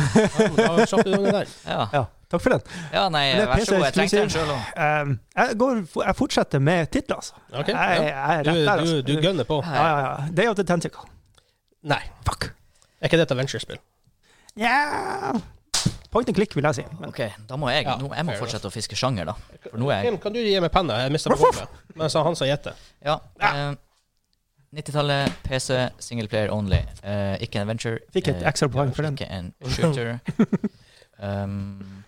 Speaker 1: slapp du unna der.
Speaker 3: Ja.
Speaker 2: Ja, takk for den.
Speaker 3: ja, nei,
Speaker 2: Men det er
Speaker 3: vær så god. Jeg
Speaker 2: PC
Speaker 3: trengte den sjøl òg.
Speaker 2: Um, jeg, går, jeg fortsetter med titler, altså.
Speaker 1: Ok,
Speaker 2: jeg,
Speaker 1: ja.
Speaker 2: jeg er
Speaker 1: Du,
Speaker 2: rett der,
Speaker 1: du,
Speaker 2: altså.
Speaker 1: du gønner på.
Speaker 2: ja, ja, ja. Day of the Tentacle.
Speaker 1: Nei.
Speaker 2: Fuck.
Speaker 1: Er ikke det et adventure-spill?
Speaker 2: Nja Point and click, vil jeg si. Men,
Speaker 3: OK, da må jeg
Speaker 1: Ja,
Speaker 3: nå, jeg må
Speaker 1: fair
Speaker 3: fortsette å fiske sjanger, da. For nå er jeg
Speaker 1: Kim, Kan du gi meg penna? Jeg mista på gulvet. Mens han sa gjette.
Speaker 3: Ja. eh, 90-tallet, PC, single player only. Eh, ikke en adventure.
Speaker 2: Fikk et
Speaker 3: Eh,
Speaker 2: ekstra poeng for den.
Speaker 3: Ikke en shooter. um,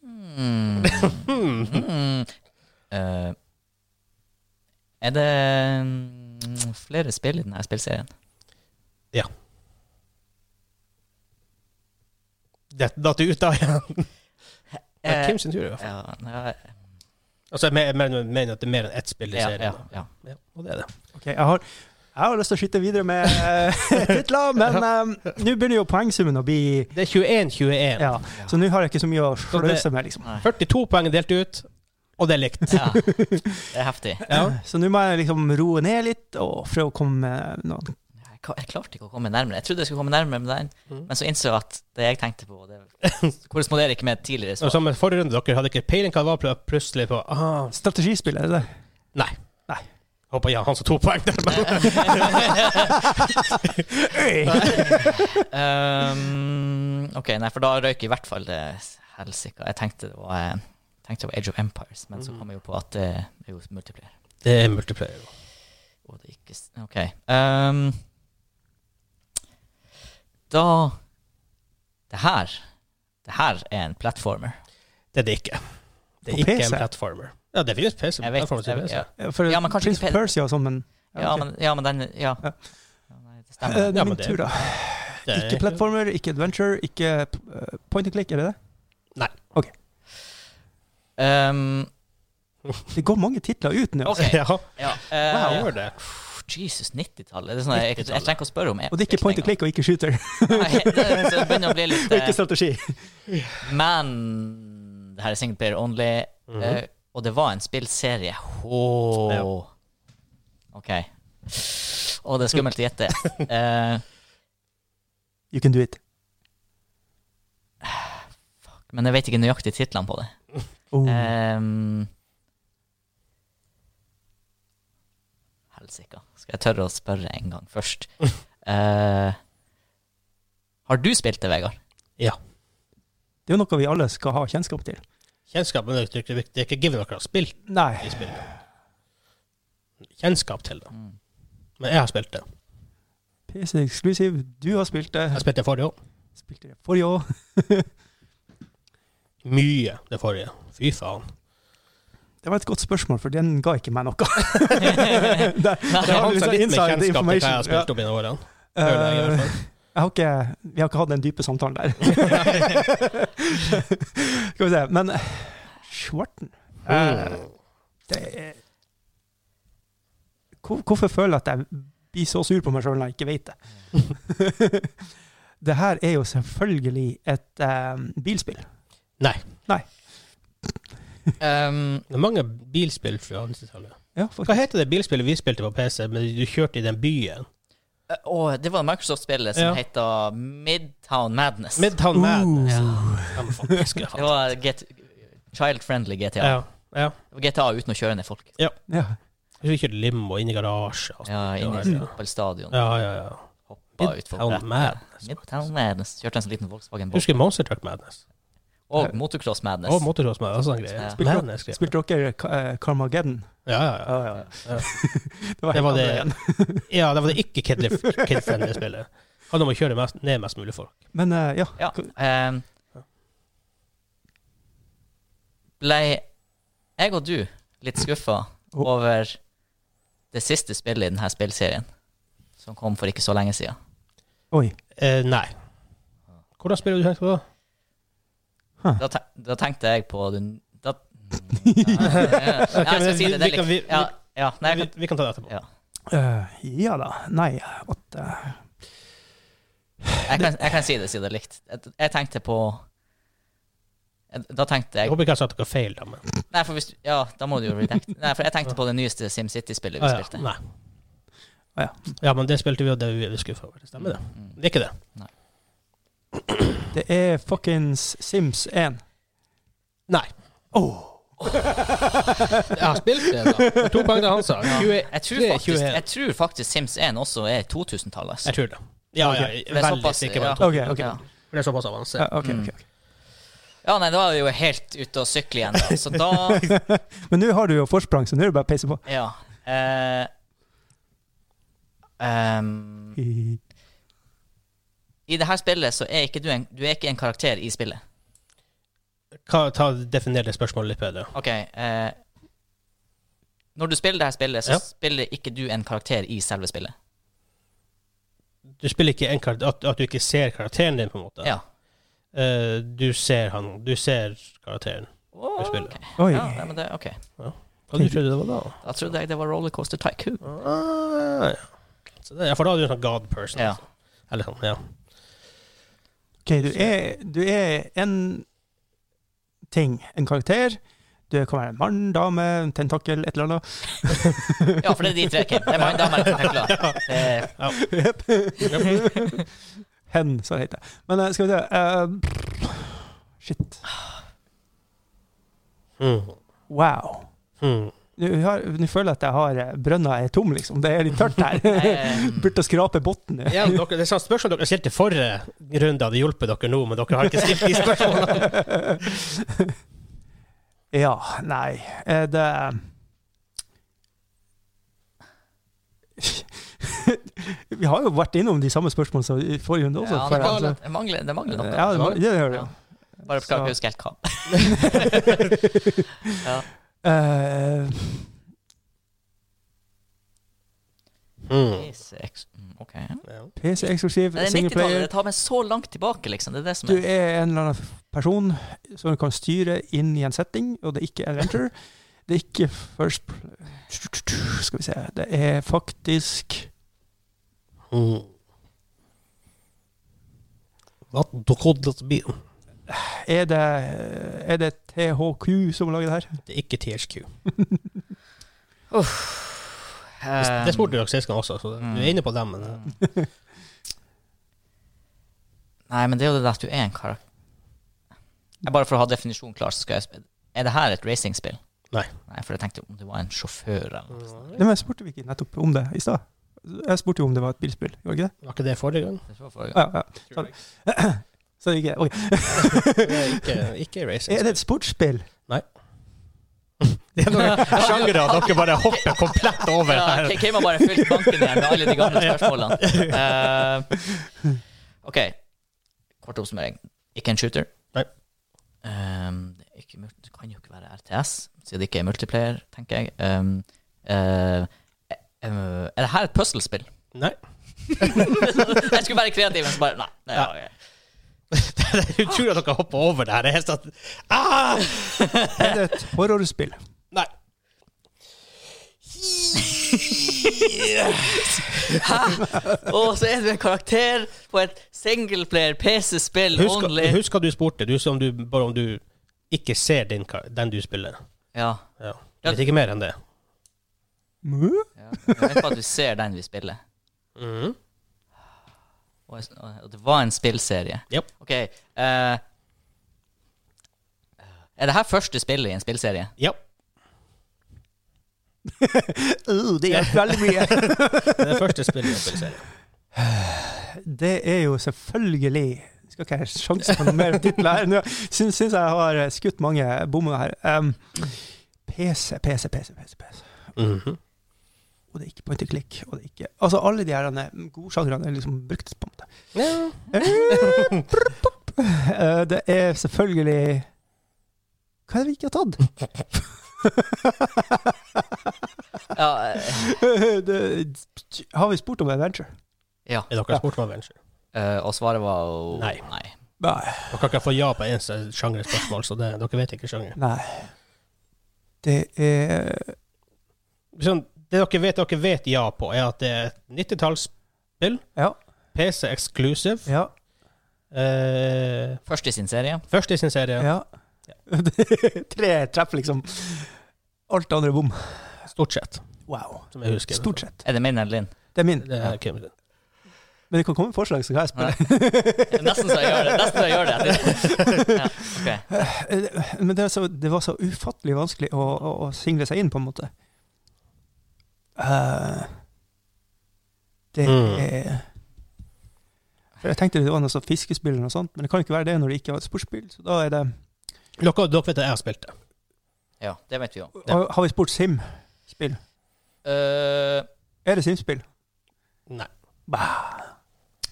Speaker 3: hmm, hmm, eh, er det mm, flere spill i denne spillserien?
Speaker 1: Det datt ut da igjen. Det er
Speaker 3: Eh,
Speaker 1: Kim sin tur, i hvert fall.
Speaker 3: ja, ja,
Speaker 1: Altså, jeg mener- jeg mener at det er mer enn ett spill i
Speaker 3: ja,
Speaker 1: serien.
Speaker 3: ja,
Speaker 1: da.
Speaker 3: ja.
Speaker 1: Ja, og det er det.
Speaker 2: ok, jeg har, jeg har lyst til å skyte videre med eh, titler, men um, nå begynner jo poengsummen å bli
Speaker 1: Det er 21-21.
Speaker 2: ja, Så nå har jeg ikke så mye å sløse med, liksom.
Speaker 3: Nei.
Speaker 1: 42 poeng er delt ut, og det er likt.
Speaker 3: ja. Det er heftig.
Speaker 1: Ja.
Speaker 2: Så nå må jeg liksom roe ned litt og prøve å komme med noen
Speaker 3: Jeg ka- jeg klarte ikke å komme nærmere. Jeg trodde jeg skulle komme nærmere med den,
Speaker 1: Mm.
Speaker 3: men så innså jeg at det jeg tenkte på, det korresponderer ikke med tidligere
Speaker 1: Og
Speaker 3: svar.
Speaker 1: som i forrige runde, dere hadde ikke peiling hva det var, pl- plutselig på ah,
Speaker 2: strategispill. Er det det?
Speaker 1: Nei.
Speaker 2: Nei.
Speaker 1: Håper ja, han som to poeng der. men-
Speaker 3: um, ok, nei, for da røyk i hvert fall det helsika. Jeg tenkte det var eh, tenkte det var Age of Empires, men så kom jeg jo på at det er jo multiplier.
Speaker 1: Det er multiplayer.
Speaker 3: Og det ikke s- OK. Um, da Det her Det her er en platformer.
Speaker 1: Det er det ikke. Det er
Speaker 2: På
Speaker 1: ikke
Speaker 2: PC?
Speaker 1: en platformer. Ja, det finnes PC.
Speaker 3: Jeg vet,
Speaker 1: plattformer til
Speaker 3: jeg,
Speaker 1: PC.
Speaker 3: ja.
Speaker 2: Eh, For
Speaker 3: Ja, men kanskje
Speaker 2: Prince
Speaker 3: ikke
Speaker 2: of Persia og sånn, men
Speaker 3: Ja, men, ja, men den Ja.
Speaker 2: Ja.
Speaker 3: Ja, nei, det
Speaker 2: Eh,
Speaker 3: stemmer.
Speaker 2: Det
Speaker 1: Ja,
Speaker 2: er
Speaker 1: men
Speaker 2: min
Speaker 1: det-
Speaker 2: tur, da.
Speaker 1: Det er-
Speaker 2: Ikke platformer, ikke adventure, ikke eh, point and click, er det det?
Speaker 3: Um,
Speaker 2: Det går mange titler ut nå.
Speaker 3: Ok.
Speaker 1: Ja,
Speaker 3: ja,
Speaker 1: hva
Speaker 3: eh,
Speaker 1: gjør det?
Speaker 3: pff, Jesus, 90-tallet. Det er sånn, jeg, jeg trenger ikke å spørre om
Speaker 2: Og det er ikke point and click og ikke shooter,
Speaker 3: Nei, det, så det begynner å bli litt
Speaker 2: og ikke
Speaker 3: eh,
Speaker 2: strategi.
Speaker 3: Men det her er single player only, eh,
Speaker 1: Mhm.
Speaker 3: og det var en spillserie.
Speaker 1: Ja.
Speaker 3: Åh OK. Og det er skummelt å gjette. Eh,
Speaker 2: You can do it.
Speaker 3: men jeg vet ikke nøyaktig titlene på det.
Speaker 2: Oh.
Speaker 3: Um, Helsike. Skal jeg tørre å spørre en gang først? Eh, har du spilt det, Vegard?
Speaker 2: Det er jo noe vi alle skal ha kjennskap til.
Speaker 1: Kjennskap men det er ikke- det er ikke given dere har spilt
Speaker 2: Nei.
Speaker 1: i spillet. Kjennskap til det.
Speaker 3: Mm.
Speaker 1: Men jeg har spilt det.
Speaker 2: PC Exclusive, du har spilt det.
Speaker 1: Jeg spilte det forrige òg.
Speaker 2: Spilte det forrige år.
Speaker 1: Mye det forrige. Fy faen.
Speaker 2: Det var et godt spørsmål, for den ga ikke meg noe.
Speaker 3: Nei,
Speaker 2: Der,
Speaker 1: Det er
Speaker 2: var
Speaker 1: han som
Speaker 2: liksom
Speaker 1: har litt mer
Speaker 2: inside
Speaker 1: kjennskap til hva jeg har
Speaker 2: information,
Speaker 1: spilt
Speaker 2: ja.
Speaker 1: opp gjennom årene.
Speaker 2: Eh,
Speaker 1: Føler jeg i hvert fall.
Speaker 2: jeg har ikke, vi har ikke hatt den dype samtalen der. skal vi se. Men Schwarten eh,
Speaker 1: Mm.
Speaker 2: det er, hvor, Hvorfor føler jeg at jeg blir så sur på meg sjøl når jeg ikke vet det? det her er jo selvfølgelig et eh, bilspill.
Speaker 3: um,
Speaker 1: Det er mange bilspill fra 90-tallet.
Speaker 2: Ja,
Speaker 1: Hva heter det bilspillet vi spilte på PC, men du kjørte i den byen?
Speaker 3: Eh, Og det var Microsoft-spillet som
Speaker 1: Ja.
Speaker 3: heter Midtown Madness.
Speaker 1: Midtown Madness.
Speaker 3: ja.
Speaker 1: Ja, men faen, jeg skulle
Speaker 3: Det
Speaker 1: hatt
Speaker 3: var get, child-friendly GTA.
Speaker 1: ja. ja.
Speaker 3: Det var GTA uten å kjøre ned folk.
Speaker 2: Ja.
Speaker 1: Vi kjørte limo inn i garasje. og sånt.
Speaker 3: Ja, Inne i
Speaker 1: Ja, ja.
Speaker 3: fotballstadion.
Speaker 1: Ja, ja, ja.
Speaker 3: Hoppa utfor
Speaker 1: Midtown
Speaker 3: brettet.
Speaker 1: Madness.
Speaker 3: Midtown Madness. Kjørte en sånn liten Volkswagen
Speaker 1: Jeg
Speaker 3: Bolt.
Speaker 1: husker Monster Truck Madness.
Speaker 3: Og Motocross Madness.
Speaker 1: Og Motocross Madness. Sånn greie.
Speaker 3: Ja.
Speaker 2: Spilte
Speaker 1: Madness greie.
Speaker 2: Spilte dere eh, Carmageddon?
Speaker 1: Ja, ja,
Speaker 2: ja,
Speaker 1: ja.
Speaker 2: Det var,
Speaker 1: Det var
Speaker 2: helt
Speaker 1: det.
Speaker 2: andre igjen.
Speaker 1: ja. ja, det var det ikke kid-friendly spillet. Handler om å kjøre mest, ned mest mulig folk.
Speaker 2: Men eh, ja.
Speaker 3: Ja. ehm, ble jeg og du litt skuffa
Speaker 2: Oh.
Speaker 3: over det siste spillet i denne spillserien, som kom for ikke så lenge siden?
Speaker 2: Oi.
Speaker 1: Eh, nei. Hvordan spiller du tenkte på da?
Speaker 3: Da, te da tenkte jeg på den da, Nei, jeg skal si det. det er
Speaker 1: vi kan- vi-
Speaker 3: litt, ja, ja, nei, jeg
Speaker 1: Vi,
Speaker 3: kan,
Speaker 1: vi kan ta det etterpå.
Speaker 3: ja.
Speaker 2: Eh, ja da. Nei, eh, åtte
Speaker 3: Jeg kan, jeg kan si det, si det likt. Jeg, jeg tenkte på Da tenkte
Speaker 1: Jeg
Speaker 3: jeg
Speaker 1: håper ikke jeg sa noe feil, da. Men,
Speaker 3: Nei, for hvis Ja, da må du jo redact. Nei, for jeg tenkte på det nyeste SimCity-spillet vi
Speaker 1: ah, ja,
Speaker 3: spilte.
Speaker 1: nei.
Speaker 2: Å ja.
Speaker 1: Ah, ja, men det spilte vi, og det er vi er skuffa over. Det stemmer, det.
Speaker 3: Mm.
Speaker 1: Det er ikke det.
Speaker 2: Det er fuckings Sims 1.
Speaker 1: Nei. Jeg har spilt det, da. Med To poeng til Hansa.
Speaker 3: Ja.
Speaker 1: 20,
Speaker 3: Jeg tror,
Speaker 1: Det er
Speaker 3: faktisk,
Speaker 1: 21.
Speaker 3: jeg tror faktisk Sims 1 også er 2000-tallet.
Speaker 1: jeg tror det. Ja, ja, jeg
Speaker 3: Det
Speaker 1: er
Speaker 3: er
Speaker 1: veldig
Speaker 3: såpass,
Speaker 1: sikker på
Speaker 3: ja.
Speaker 1: det.
Speaker 2: OK. ok.
Speaker 3: altså. Ja.
Speaker 1: For det er såpass avansert.
Speaker 2: Ja, ok,
Speaker 3: Mm.
Speaker 2: ok, ok.
Speaker 3: ja, nei, da er vi jo helt ute å sykle igjen, da. Så da
Speaker 2: Men nå har du jo forsprang, så nå er det bare å peise på.
Speaker 3: Ja. Eh, ehm, I det her spillet så er ikke du en, du er ikke en karakter i spillet.
Speaker 1: Hva, ta, definer det spørsmålet litt bedre.
Speaker 3: OK. Eh, når du spiller det her spillet, så
Speaker 1: Ja.
Speaker 3: spiller ikke du en karakter i selve spillet.
Speaker 1: Du spiller ikke en karakter, at, at du ikke ser karakteren din, på en måte.
Speaker 3: Ja.
Speaker 1: Eh, du ser han Du ser karakteren.
Speaker 3: Oh,
Speaker 1: spiller.
Speaker 2: Oi.
Speaker 3: ja nei, men det, ok.
Speaker 1: Hva du trodde det var da?
Speaker 3: Da trodde jeg det var Rollercoaster Tycoon.
Speaker 1: Ah, ja. Så det, ja, for da er du en sånn god person.
Speaker 3: Ja.
Speaker 1: altså. Eller sånn, ja.
Speaker 2: OK, du er, du er en ting. En karakter. Du kan være en mann, dame, en tentakel, et eller annet.
Speaker 3: Ja, for det er de tre, Kim. Det er mange damer som hekler. Eh,
Speaker 2: Hen, som det heter. Men eh, skal vi se eh, Shit.
Speaker 1: Mm.
Speaker 2: Wow.
Speaker 1: Mm.
Speaker 2: Nå har- nå føler jeg at jeg har eh, brønna er tom, liksom. Det er litt tørt her.
Speaker 3: eh,
Speaker 2: Burde skrape bunnen.
Speaker 1: Ja, dere, det er sånn spørsmål dere stilte forrige runde, hadde hjulpet dere nå, men dere har ikke stilt de spørsmålene.
Speaker 2: Ja, nei Er det Vi har jo vært innom de samme spørsmålene som i forrige runde også.
Speaker 3: ja,
Speaker 2: for
Speaker 3: det, mangler,
Speaker 2: altså-
Speaker 3: det, mangler, det mangler noe.
Speaker 2: ja, det, må- det gjør det.
Speaker 3: Ja. Bare
Speaker 2: så-
Speaker 3: klarer ikke å huske helt hva.
Speaker 2: Eh,
Speaker 1: Mm.
Speaker 3: PCX, mm, Ok.
Speaker 1: Ja.
Speaker 2: PC eksklusiv,
Speaker 3: Det er 90-tallet.
Speaker 2: singleplayer.
Speaker 3: Det tar meg så langt tilbake, liksom. Det er det som
Speaker 2: Du
Speaker 3: er
Speaker 2: er en eller annen person som du kan styre inn i en setting, og det er ikke adventure. Det er ikke first pl- Skal vi se Det er faktisk
Speaker 1: Mm. Hva trodde det blir?
Speaker 2: Er det, er det THQ som lager det her?
Speaker 1: Det er ikke THQ.
Speaker 3: Ehm,
Speaker 1: Det spurte dere sist gang også, så du er inne på dem. Men
Speaker 3: Nei, men det er jo det der at du er en karakter Jeg Bare for å ha definisjonen klar, så skal jeg sp- Er det her et racingspill?
Speaker 1: Nei.
Speaker 3: Nei, for jeg tenkte om du var en sjåfør eller noe.
Speaker 1: Nei.
Speaker 2: Nei, men spurte vi ikke nettopp om det i stad? Jeg spurte jo om det var et bilspill, gjorde jeg ikke det?
Speaker 1: Var ikke det forrige gang?
Speaker 3: Det tror jeg forrige gang.
Speaker 2: Ja, ja. Sorry. Så det ikke, ok.
Speaker 1: Det er ikke, ikke racing.
Speaker 2: Er det et sportsspill?
Speaker 1: Det er noen sjangere dere bare hopper komplett over
Speaker 3: Ja,
Speaker 1: her.
Speaker 3: K- Kim har bare fylt banken igjen med alle de gamle spørsmålene. Ehm, ok, kort oppsummering. Ikke en shooter.
Speaker 1: Nei.
Speaker 3: Ehm, det, er ikke, mul- det kan jo ikke være RTS, siden det ikke er multiplayer, tenker jeg. Ehm, eh, eh, er det her et puslespill?
Speaker 1: Nei.
Speaker 3: jeg skulle være kreativ, men så bare Nei. nei
Speaker 1: Ja.
Speaker 3: ok.
Speaker 1: Jeg tror at dere hopper over det her. Det er helt sånn ah!
Speaker 2: Er det et horrorspill?
Speaker 1: Nei.
Speaker 3: Og så er du en karakter på et singleplayer PC-spill
Speaker 1: Husk,
Speaker 3: only.
Speaker 1: husk hva du spurte, du, om du, bare om du ikke ser din, kar- den du spiller.
Speaker 3: Ja.
Speaker 1: Ja. Du
Speaker 3: Ja.
Speaker 1: vet ikke mer enn det.
Speaker 2: Mø?
Speaker 3: ja. Jeg vet bare at du ser den vi spiller. Mm-hmm.
Speaker 1: Mhm.
Speaker 3: Og og det var en spillserie.
Speaker 1: Japp.
Speaker 3: OK. eh, er det her første spillet i en spillserie?
Speaker 1: Ja.
Speaker 2: Uh, det hjelper veldig mye.
Speaker 1: Det er det første spillet jeg spiller i serien.
Speaker 2: Det er jo selvfølgelig Skal ikke jeg sjanse på noe mer titler her? Nå syns, syns jeg har eh, skutt mange bommer her. Um, PC, PC, PC, PC. PC.
Speaker 3: Mm-hmm.
Speaker 1: Mhm.
Speaker 2: Og det er ikke point and click. Og det er ikke, altså alle de her eh, godsjangrene er liksom brukt på en måte.
Speaker 1: ja.
Speaker 2: Eh, Det er selvfølgelig Hva er det vi ikke har tatt?
Speaker 3: Ja. eh,
Speaker 2: Det, har vi spurt om Adventure?
Speaker 3: ja.
Speaker 1: Er dere spurt om Avenger?
Speaker 3: Eh, og svaret var jo
Speaker 1: Nei.
Speaker 3: nei.
Speaker 2: Nei.
Speaker 1: Dere kan ikke få ja på eneste sjangerspørsmål, så det, dere vet ikke sjanger.
Speaker 2: Nei. Det er
Speaker 1: Sånn, det dere vet, dere vet ja på, er at det er et 90-tallsspill.
Speaker 2: Ja.
Speaker 1: PC exclusive.
Speaker 2: Ja.
Speaker 1: Eh,
Speaker 3: Først i sin serie.
Speaker 1: først i sin serie.
Speaker 2: ja. Tre treff, liksom. Alt det andre er bom.
Speaker 1: Stort sett,
Speaker 2: Wow.
Speaker 1: som jeg husker.
Speaker 2: Stort sett.
Speaker 3: Er det min eller din?
Speaker 2: Det er min.
Speaker 1: Det er Kim sin.
Speaker 2: Men det kan komme forslag, så kan jeg
Speaker 3: Nei.
Speaker 2: spille.
Speaker 3: Det er Nesten så jeg gjør det. Nesten så jeg gjør det. Ja, ok.
Speaker 2: Men det, er så, det var så ufattelig vanskelig å, å, å single seg inn, på en måte. Eh, det
Speaker 1: Mm.
Speaker 2: er For Jeg tenkte det var noe sånn fiskespill eller noe sånt, men det kan ikke være det når det ikke var et sportsspill. Så da er det
Speaker 1: Dere, dere vet at jeg har spilt det.
Speaker 3: ja, det vet vi jo. Ja.
Speaker 2: Har, har vi spurt Sim-spill?
Speaker 3: Eh,
Speaker 2: Er det Sim-spill?
Speaker 1: Nei.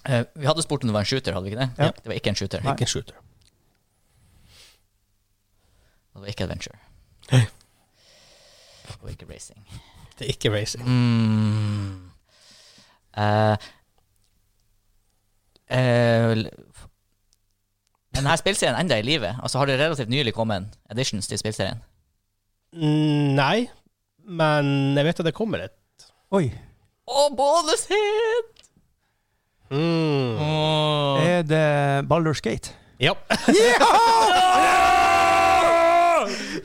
Speaker 3: eh, vi hadde spurt om det var en shooter, hadde vi ikke det?
Speaker 2: Ja.
Speaker 3: Det var ikke en shooter.
Speaker 2: Nei.
Speaker 1: Ikke en shooter.
Speaker 3: Det var ikke adventure. Det var ikke racing.
Speaker 1: Det er ikke racing.
Speaker 3: Mm. Eh, eh, l- f- men denne spillserien enda i live? Altså Har det relativt nylig kommet editions til spillserien?
Speaker 1: Mm, Nei, men jeg vet at det kommer et.
Speaker 2: Oi.
Speaker 3: Å, bonus hit!
Speaker 1: Mm.
Speaker 3: Åh.
Speaker 2: Er det Baldur's Gate?
Speaker 1: Ja.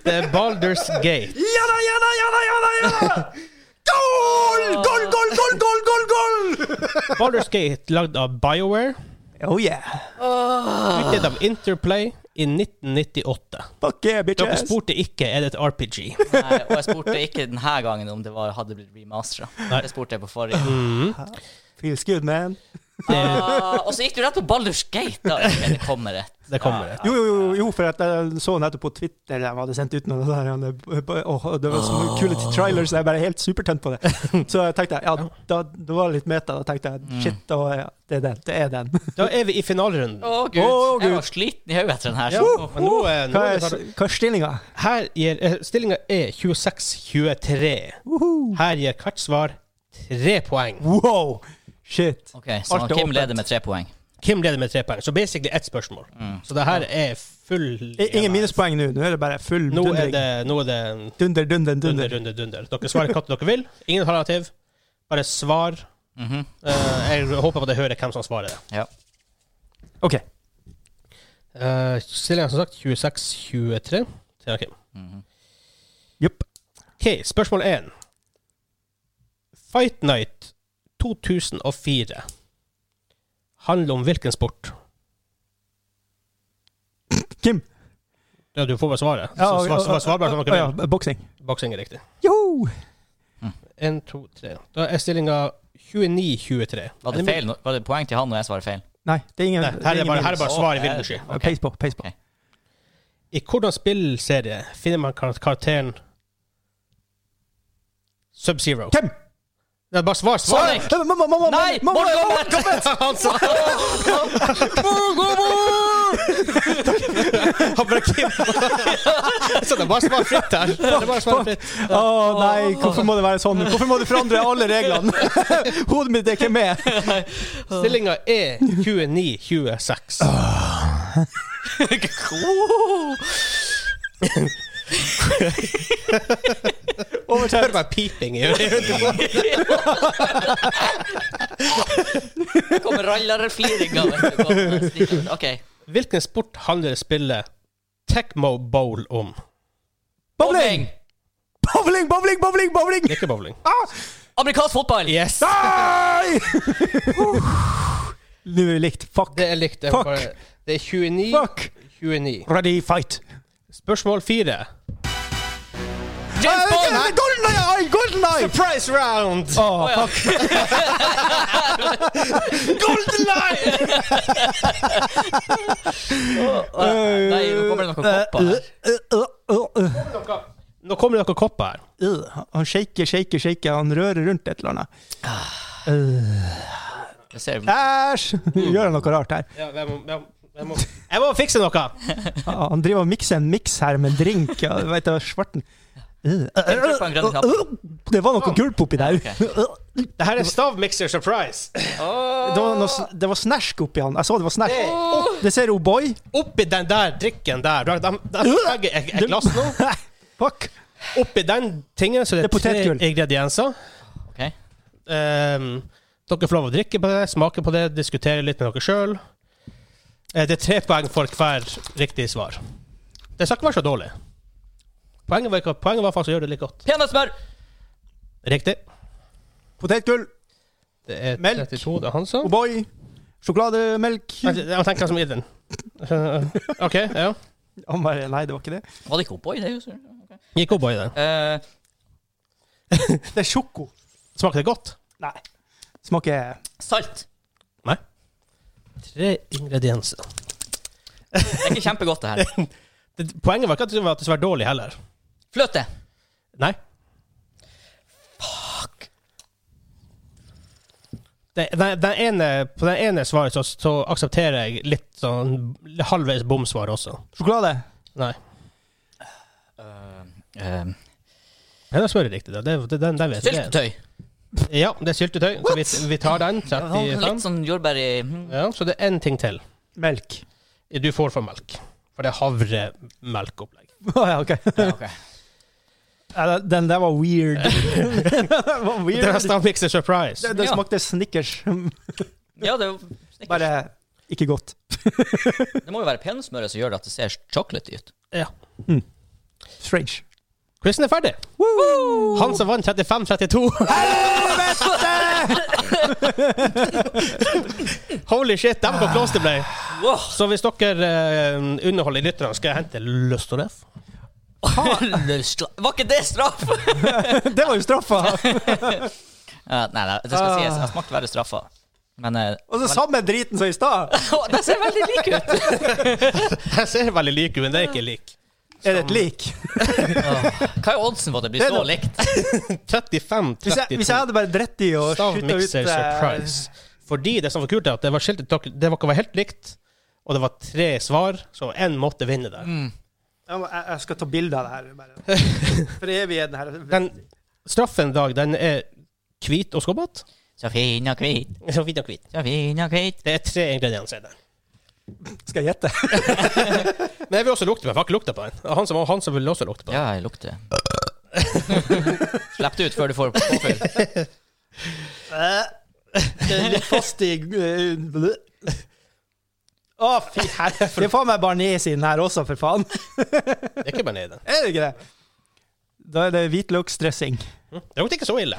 Speaker 1: Det er Baldur's Gate.
Speaker 2: Ja da, ja da, ja da, ja da! Ja da! Goal! Goal, goal, goal, goal, goal, goal!
Speaker 1: Baldur's Gate lagd av BioWare.
Speaker 2: Oh yeah.
Speaker 1: Utgitt av Interplay i 1998.
Speaker 2: Fuck yeah,
Speaker 1: Dere
Speaker 2: bitches.
Speaker 1: spurte ikke er det et RPG.
Speaker 3: Nei, og jeg spurte ikke denne gangen om det var, hadde blitt remastera.
Speaker 1: Nei.
Speaker 3: Det spurte jeg på forrige.
Speaker 2: Feels good, man.
Speaker 3: Ah, og så gikk du rett på Baldur's Gate! Da. Men det kommer et.
Speaker 1: Det kommer et.
Speaker 2: Jo, jo, jo, jo, for at jeg så nettopp på Twitter de hadde sendt ut noe der, og det- og det var så mye kule trailers, jeg bare helt supertent på det. Så jeg tenkte, ja, da, det var litt meta, da tenkte jeg, shit, da, er- ja, det er den, det er den.
Speaker 1: Da er vi i finalerunden.
Speaker 3: Å, gud.
Speaker 2: Å,
Speaker 3: Jeg
Speaker 2: Gud.
Speaker 3: var sliten i hodet etter den her.
Speaker 1: Ja,
Speaker 3: så-
Speaker 1: men nå er, nå
Speaker 2: Hva
Speaker 1: er
Speaker 2: er,
Speaker 1: det, sånn-
Speaker 2: hva er stillingen?
Speaker 1: her gir eh, Stillinga er 26-23. Her gir hvert svar tre poeng.
Speaker 2: Wow! Shit.
Speaker 3: Ok, Så
Speaker 2: Alt er
Speaker 3: Kim
Speaker 2: åpent.
Speaker 3: leder med tre poeng.
Speaker 1: Kim leder med tre poeng, så basically ett spørsmål. Så det her er full
Speaker 2: I- Mm. E- Ingen minuspoeng nå, nå er det bare full
Speaker 1: Nå er
Speaker 2: dundring.
Speaker 1: det, nå er det
Speaker 2: Dunder,
Speaker 1: dunder,
Speaker 2: dunder, dunder.
Speaker 1: dunder, dunder. Dere svarer hva dere vil. Ingen alternativ. Bare svar.
Speaker 3: Mhm.
Speaker 1: Eh, jeg håper på at jeg hører hvem som svarer.
Speaker 3: Ja.
Speaker 2: Ok.
Speaker 1: Uh, Stillinga som sagt 26-23. til Kim.
Speaker 3: Mhm.
Speaker 2: Jupp.
Speaker 1: OK, spørsmål én. Fight Night 2004 handler om hvilken sport?
Speaker 2: Kim.
Speaker 1: Ja, du får bare svaret.
Speaker 2: Ja,
Speaker 1: Så
Speaker 2: og-
Speaker 1: svar,
Speaker 2: og-
Speaker 1: svar, svar bare som
Speaker 2: og-
Speaker 1: dere
Speaker 2: ja,
Speaker 1: vil.
Speaker 2: Boksing.
Speaker 1: Boksing er riktig.
Speaker 2: Joho!
Speaker 1: Én, to, tre. Da er stillinga 29-23.
Speaker 3: Var det feil? nå- Var det poeng til han når jeg svarer feil?
Speaker 2: Nei, det er ingen
Speaker 1: Nei,
Speaker 2: det
Speaker 1: her er
Speaker 2: ingen
Speaker 1: bare, her er
Speaker 2: minus.
Speaker 1: bare svar i vilden sky.
Speaker 3: Ok.
Speaker 2: Peis på, peis på.
Speaker 3: Ok.
Speaker 1: I hvordan spillserie finner man kar- karakteren Sub-Zero?
Speaker 2: Kim!
Speaker 1: Det er bare svar, svar!
Speaker 3: Sonic!
Speaker 2: Nei, mamma, mamma,
Speaker 3: Nei!
Speaker 2: mamma,
Speaker 3: Mortal
Speaker 2: mamma.
Speaker 3: Kombat!
Speaker 1: Han sa Han bare Kim Så det er bare svar fritt her. Det er bare svar fritt.
Speaker 2: Å nei, hvorfor må det være sånn? Hvorfor må du forandre alle reglene? Hodet mitt er ikke med.
Speaker 1: Stillinga er 29-26.
Speaker 2: Ah.
Speaker 1: Hør
Speaker 2: Overtatt.
Speaker 1: bare piping i øret.
Speaker 3: Det kommer rallarefliringa. Ok.
Speaker 1: Hvilken sport handler spillet Tecmo Bowl om?
Speaker 2: Bowling! Bowling, bowling, bowling, bowling!
Speaker 1: Det er ikke bowling.
Speaker 3: Amerikansk fotball!
Speaker 1: Yes!
Speaker 2: Nei! Nå er vi likt. Fuck.
Speaker 1: Det er likt. Jeg
Speaker 2: Fuck.
Speaker 1: bare- Det er 29
Speaker 2: Fuck.
Speaker 1: 29.
Speaker 2: Ready, fight.
Speaker 1: Spørsmål fire.
Speaker 3: James Bond!
Speaker 2: Nei, Golden eye, golden eye!
Speaker 1: Surprise round!
Speaker 2: Å,
Speaker 3: Å, ja.
Speaker 2: fuck.
Speaker 1: Golden line!
Speaker 3: Å, Nei, nå kommer det noen kopper her.
Speaker 2: Øh, øh, øh,
Speaker 1: Nå kommer det noen kopper her.
Speaker 2: øh, øh. Han shaker, shaker, shaker. Han rører rundt et eller annet.
Speaker 3: Jeg ser
Speaker 2: Æsj! Gjør han noe rart her?
Speaker 1: Ja, jeg, må, jeg, må, jeg, må, jeg må fikse noe!
Speaker 2: Ja, Han driver og mikser en miks her med en drink. Ja, du vet, det var svarten. Øh,
Speaker 3: Jeg tror på en grønn knapp.
Speaker 2: Det var noe gulp oppi der.
Speaker 3: Ja,
Speaker 1: Det her er stavmikser surprise.
Speaker 2: Det var, noe, s- det var snersk oppi han. Jeg så det var snersk.
Speaker 1: Hey.
Speaker 2: Å, Det ser O'boy.
Speaker 1: Oppi den der drikken der. De, de, de, de, jeg, jeg glass nå.
Speaker 2: Fuck.
Speaker 1: Oppi den tingen så er det,
Speaker 2: Det er
Speaker 1: tre
Speaker 2: potetgull.
Speaker 1: ingredienser.
Speaker 3: Ok.
Speaker 1: Ehm, dere får lov å drikke på det, smake på det, diskutere litt med dere sjøl. det er tre poeng for hver riktig svar. Det skal ikke være så dårlig. Poenget var, ikke- poenget var faktisk å gjøre det litt godt.
Speaker 3: Peanøttsmør!
Speaker 1: Riktig.
Speaker 2: Potetgull,
Speaker 1: Det er
Speaker 2: Melk.
Speaker 1: 32, det er han sa.
Speaker 2: O'boy, sjokolademelk
Speaker 1: Vent, Jeg tenker hva som er i den. Eh, OK, ja.
Speaker 2: Han bare Nei, det var ikke det.
Speaker 3: Var det ikke O'boy, det? er jo sur. Ok.
Speaker 1: Gikk opp i den.
Speaker 3: Eh,
Speaker 2: Det er sjoko.
Speaker 1: Smakte det godt?
Speaker 2: Nei. Smaker
Speaker 3: salt.
Speaker 1: Tre ingredienser.
Speaker 3: Det er ikke kjempegodt, det her.
Speaker 1: Det, poenget var ikke at det var at det var dårlig heller.
Speaker 3: Fløte.
Speaker 1: Nei.
Speaker 3: Fuck.
Speaker 1: Det, den, den ene, på den ene svaret så, så aksepterer jeg litt sånn halvveis bomsvar også.
Speaker 2: sjokolade.
Speaker 1: Nei.
Speaker 3: Eh, eh,
Speaker 1: Ja, da svarer jeg riktig. Da. Det, det, den, den vet jeg.
Speaker 3: Syltetøy.
Speaker 1: Ja, det er syltetøy. Så vi, vi tar den.
Speaker 3: Litt
Speaker 1: 35.
Speaker 3: sånn jordbær i mm.
Speaker 1: Ja, så det er én ting til.
Speaker 2: Melk.
Speaker 1: Du får for melk. For det er havremelkopplegg.
Speaker 2: Å ja, OK.
Speaker 3: ja, ok.
Speaker 2: Ja, den- Den der var weird. den var
Speaker 1: Det er
Speaker 2: weird.
Speaker 1: nesten mix a surprise.
Speaker 2: Den, den
Speaker 3: Ja.
Speaker 2: smakte Snickers.
Speaker 3: ja, det, er jo snickers.
Speaker 2: Bare ikke godt.
Speaker 3: det må jo være peanøttsmøret som gjør det at det ser chocolatey ut.
Speaker 2: Strange.
Speaker 1: Quizen er ferdig. Han som vant 35-32. Holy shit, dem går close det ble.
Speaker 3: Wow.
Speaker 1: Så hvis dere eh, underholder lytterne, skal jeg hente Løst og Ref.
Speaker 3: Var ikke det straff?
Speaker 2: Det var jo straffa!
Speaker 3: Ja, nei, nei, det skal sies. Jeg smakte verre straffa. Men eh,
Speaker 2: Og så samme driten som i stad.
Speaker 3: Å, det ser veldig lik ut!
Speaker 1: Jeg ser veldig lik ut, men det er ikke lik.
Speaker 2: Er det et lik?
Speaker 3: Hva er oddsen på at det blir
Speaker 2: Det er
Speaker 3: så
Speaker 2: noe-
Speaker 3: likt?
Speaker 2: Hvis jeg, hvis jeg
Speaker 1: 35-32.
Speaker 2: hadde bare dritt i og skutta ut eh,
Speaker 1: Stavmikser surprise. Fordi det som var kult, er at det var skiltet dere- Det var ikke helt likt, og det var tre svar, så én måtte vinne der.
Speaker 3: Mm.
Speaker 2: Ja, men Jeg, jeg skal ta bilde av det her. Bare. For evigheten her.
Speaker 1: Den straffen i dag, den er hvit og skåpet.
Speaker 3: Så fin og hvit,
Speaker 1: Så hvit og hvit.
Speaker 3: så fin og hvit.
Speaker 1: Det er tre ingredienser i den.
Speaker 2: Skal jeg gjette?
Speaker 1: Men jeg vil også lukte på den. for Jeg har ikke lukta på den. Og Han som, han som vil også lukte på den.
Speaker 3: Ja, jeg lukter. Slipp det ut før du får påfyll.
Speaker 2: Litt fast i eh, blø. Å, fy herre. Det er faen meg barnes i den her også, for faen.
Speaker 1: Det er ikke bare nedi den.
Speaker 2: Er det ikke det? Da er det hvitløksdressing.
Speaker 1: Det lukter ikke så ille.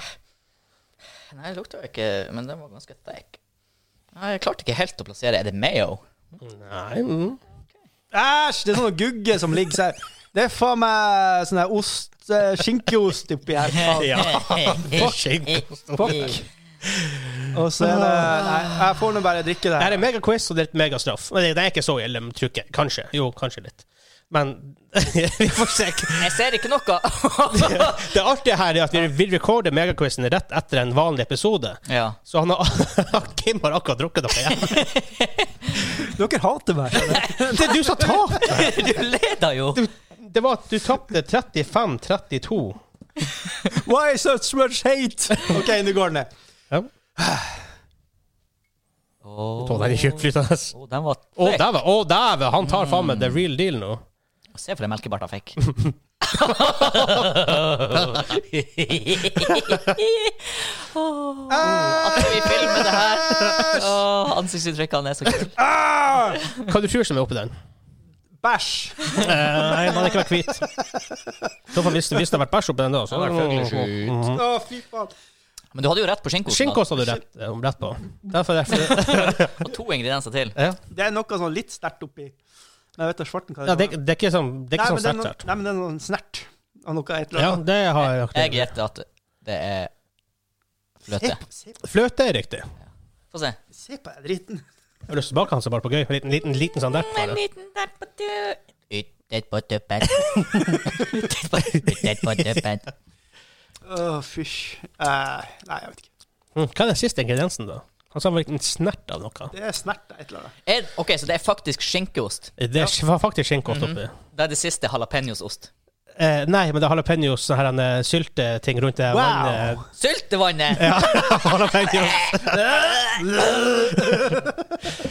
Speaker 3: Nei, det lukta jo ikke Men den var ganske sterk. Nei, jeg klarte ikke helt å plassere. Er det mayo?
Speaker 1: Nei mm.
Speaker 2: Æsj! Det er sånn gugge som ligger seg Det er faen meg sånn der ost eh, Skinkeost oppi her. faen.
Speaker 1: Ja. Fuck.
Speaker 2: Fuck. Og så er det Nei, jeg får nå bare drikke
Speaker 1: Det
Speaker 2: det. her.
Speaker 1: her er megaquiz, og det er et megastraff. Men det, det er ikke så ille, men tror ikke. Kanskje. Jo, kanskje litt. Men vi får se.
Speaker 3: Jeg ser ikke noe.
Speaker 1: Det artige her er at vi, vi recorder megaquizen rett etter en vanlig episode.
Speaker 3: ja.
Speaker 1: Så han har, Kim har akkurat drukket noe igjen.
Speaker 2: Dere hater meg.
Speaker 1: Det er du som tapte!
Speaker 3: Du leder jo.
Speaker 1: Det var at du tapte 35-32.
Speaker 2: Why such much hate? OK, nå går den ned.
Speaker 1: Ja.
Speaker 3: Å,
Speaker 1: Tå, den er tjukk, flytende.
Speaker 3: å, den var
Speaker 1: Å, dæven! Å, dæven! Han tar faen meg the real deal nå.
Speaker 3: Se for den melkebarten jeg fikk. Åh, At vi filmer det her. Åh, Ansiktsuttrykkene er så kule.
Speaker 2: Ah!
Speaker 1: Hva du tror som er oppi den?
Speaker 2: Bæsj!
Speaker 1: Eh, Nei, den hadde ikke vært hvit. I så fall Hvis, hvis det hadde vært bæsj oppi den, da. Så.
Speaker 2: Å, fy faen.
Speaker 3: Men du hadde jo rett på skinnkosten. da.
Speaker 1: Skinnkost hadde du rett, eh, om rett på. Derfor, derfor.
Speaker 3: Og to ingredienser til.
Speaker 1: Ja.
Speaker 2: Det er noe sånn litt sterkt oppi. Men jeg vet da svarten hva
Speaker 1: Ja, det,
Speaker 2: var.
Speaker 1: det er ikke sånn, det er
Speaker 2: Nei,
Speaker 1: ikke
Speaker 2: men det er
Speaker 1: sånn
Speaker 2: noe-
Speaker 1: sterkt.
Speaker 2: Nei, men det er noen snert av noe et eller
Speaker 1: Ja,
Speaker 2: annet.
Speaker 1: det har jeg
Speaker 3: Jeg
Speaker 1: akkurat.
Speaker 3: gjetter at det er fløte.
Speaker 2: Se, se,
Speaker 1: Fløte er riktig.
Speaker 3: Få se.
Speaker 2: se på den driten.
Speaker 1: Jeg har lyst til å bake han så bare på gøy. En liten, liten, liten sånn der.
Speaker 3: Mm, En
Speaker 1: Bare.
Speaker 3: liten der på tu- Ytter på tuppen. Ytter på- ytter på tuppen.
Speaker 2: Å, fysj. Eh, nei, jeg vet ikke.
Speaker 1: Mm, Hva er den siste ingrediensen, da? Han sa han var en liten snert av noe.
Speaker 2: Det er snert av et eller annet.
Speaker 3: Er- Ok, så det er faktisk skinkeost.
Speaker 1: Det er var faktisk skinnkost oppi.
Speaker 3: Det er det siste jalapeños-ost.
Speaker 1: eh, nei, men det er jalapeños, sånn her en eh, sylteting rundt det. eh,
Speaker 2: Wow!
Speaker 1: vannet.
Speaker 3: Syltevannet!
Speaker 1: Jalapeños.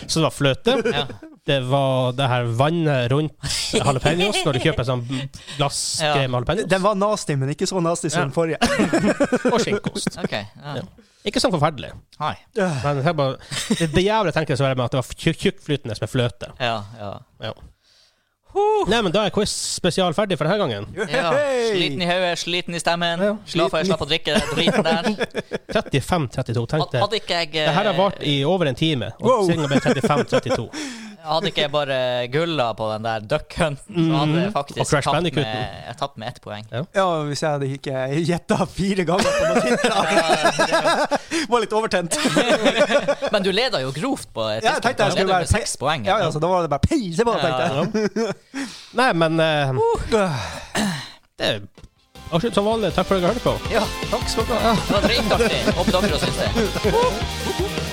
Speaker 1: så det var fløte.
Speaker 3: Ja.
Speaker 1: Det var det her vannet rundt jalapeños, når du kjøper sånn glassgreie med jalapeños.
Speaker 2: Den var nasty, men ikke så nasty som
Speaker 1: Ja.
Speaker 2: den forrige.
Speaker 1: Og skinkost.
Speaker 3: Ok. Ja.
Speaker 1: Ja. Ikke sånn forferdelig.
Speaker 3: Hei.
Speaker 2: Øh,
Speaker 1: Men det, bare, det, det jævla tenker jeg så veldig med at det var tjukk- tjukkflytende med fløte.
Speaker 3: Ja, ja.
Speaker 1: Ja. Nei, men da er quiz spesial ferdig for denne gangen.
Speaker 3: Uh. ja.
Speaker 2: Hey!
Speaker 3: Sliten i hodet, sliten i stemmen.
Speaker 1: Ja.
Speaker 3: Glad for jeg slapp å drikke den driten der.
Speaker 1: 35-32. Tenk det.
Speaker 3: Hadde ikke jeg
Speaker 1: Det her har
Speaker 3: eh,
Speaker 1: vart i over en time, og
Speaker 2: Wow.
Speaker 1: sendinga ble 35-32.
Speaker 3: Hadde ikke jeg bare gulla på den der duck hunten, så
Speaker 2: Mm.
Speaker 3: hadde jeg
Speaker 1: Og
Speaker 3: faktisk
Speaker 1: Crash
Speaker 3: tapt med,
Speaker 1: Bandicoot-en.
Speaker 3: jeg tapt med ett poeng.
Speaker 2: Ja, hvis jeg hadde ikke gjetta fire ganger på noe tidspunkt. Var litt overtent.
Speaker 3: Men du leda jo grovt på et
Speaker 2: Ja, jeg
Speaker 3: tidspunkt.
Speaker 2: tenkte jeg
Speaker 3: Du
Speaker 2: skulle
Speaker 3: leda
Speaker 2: være
Speaker 3: med seks poeng.
Speaker 2: Ja, altså. ja, så da var det bare peise på, tenkte jeg.
Speaker 1: Nei, men eh,
Speaker 2: Øh,
Speaker 1: det er avslutt som vanlig. Takk for at dere hørte på.
Speaker 3: Ja,
Speaker 2: Takk skal du ha.
Speaker 3: det var dritartig. Håper dere også syns det.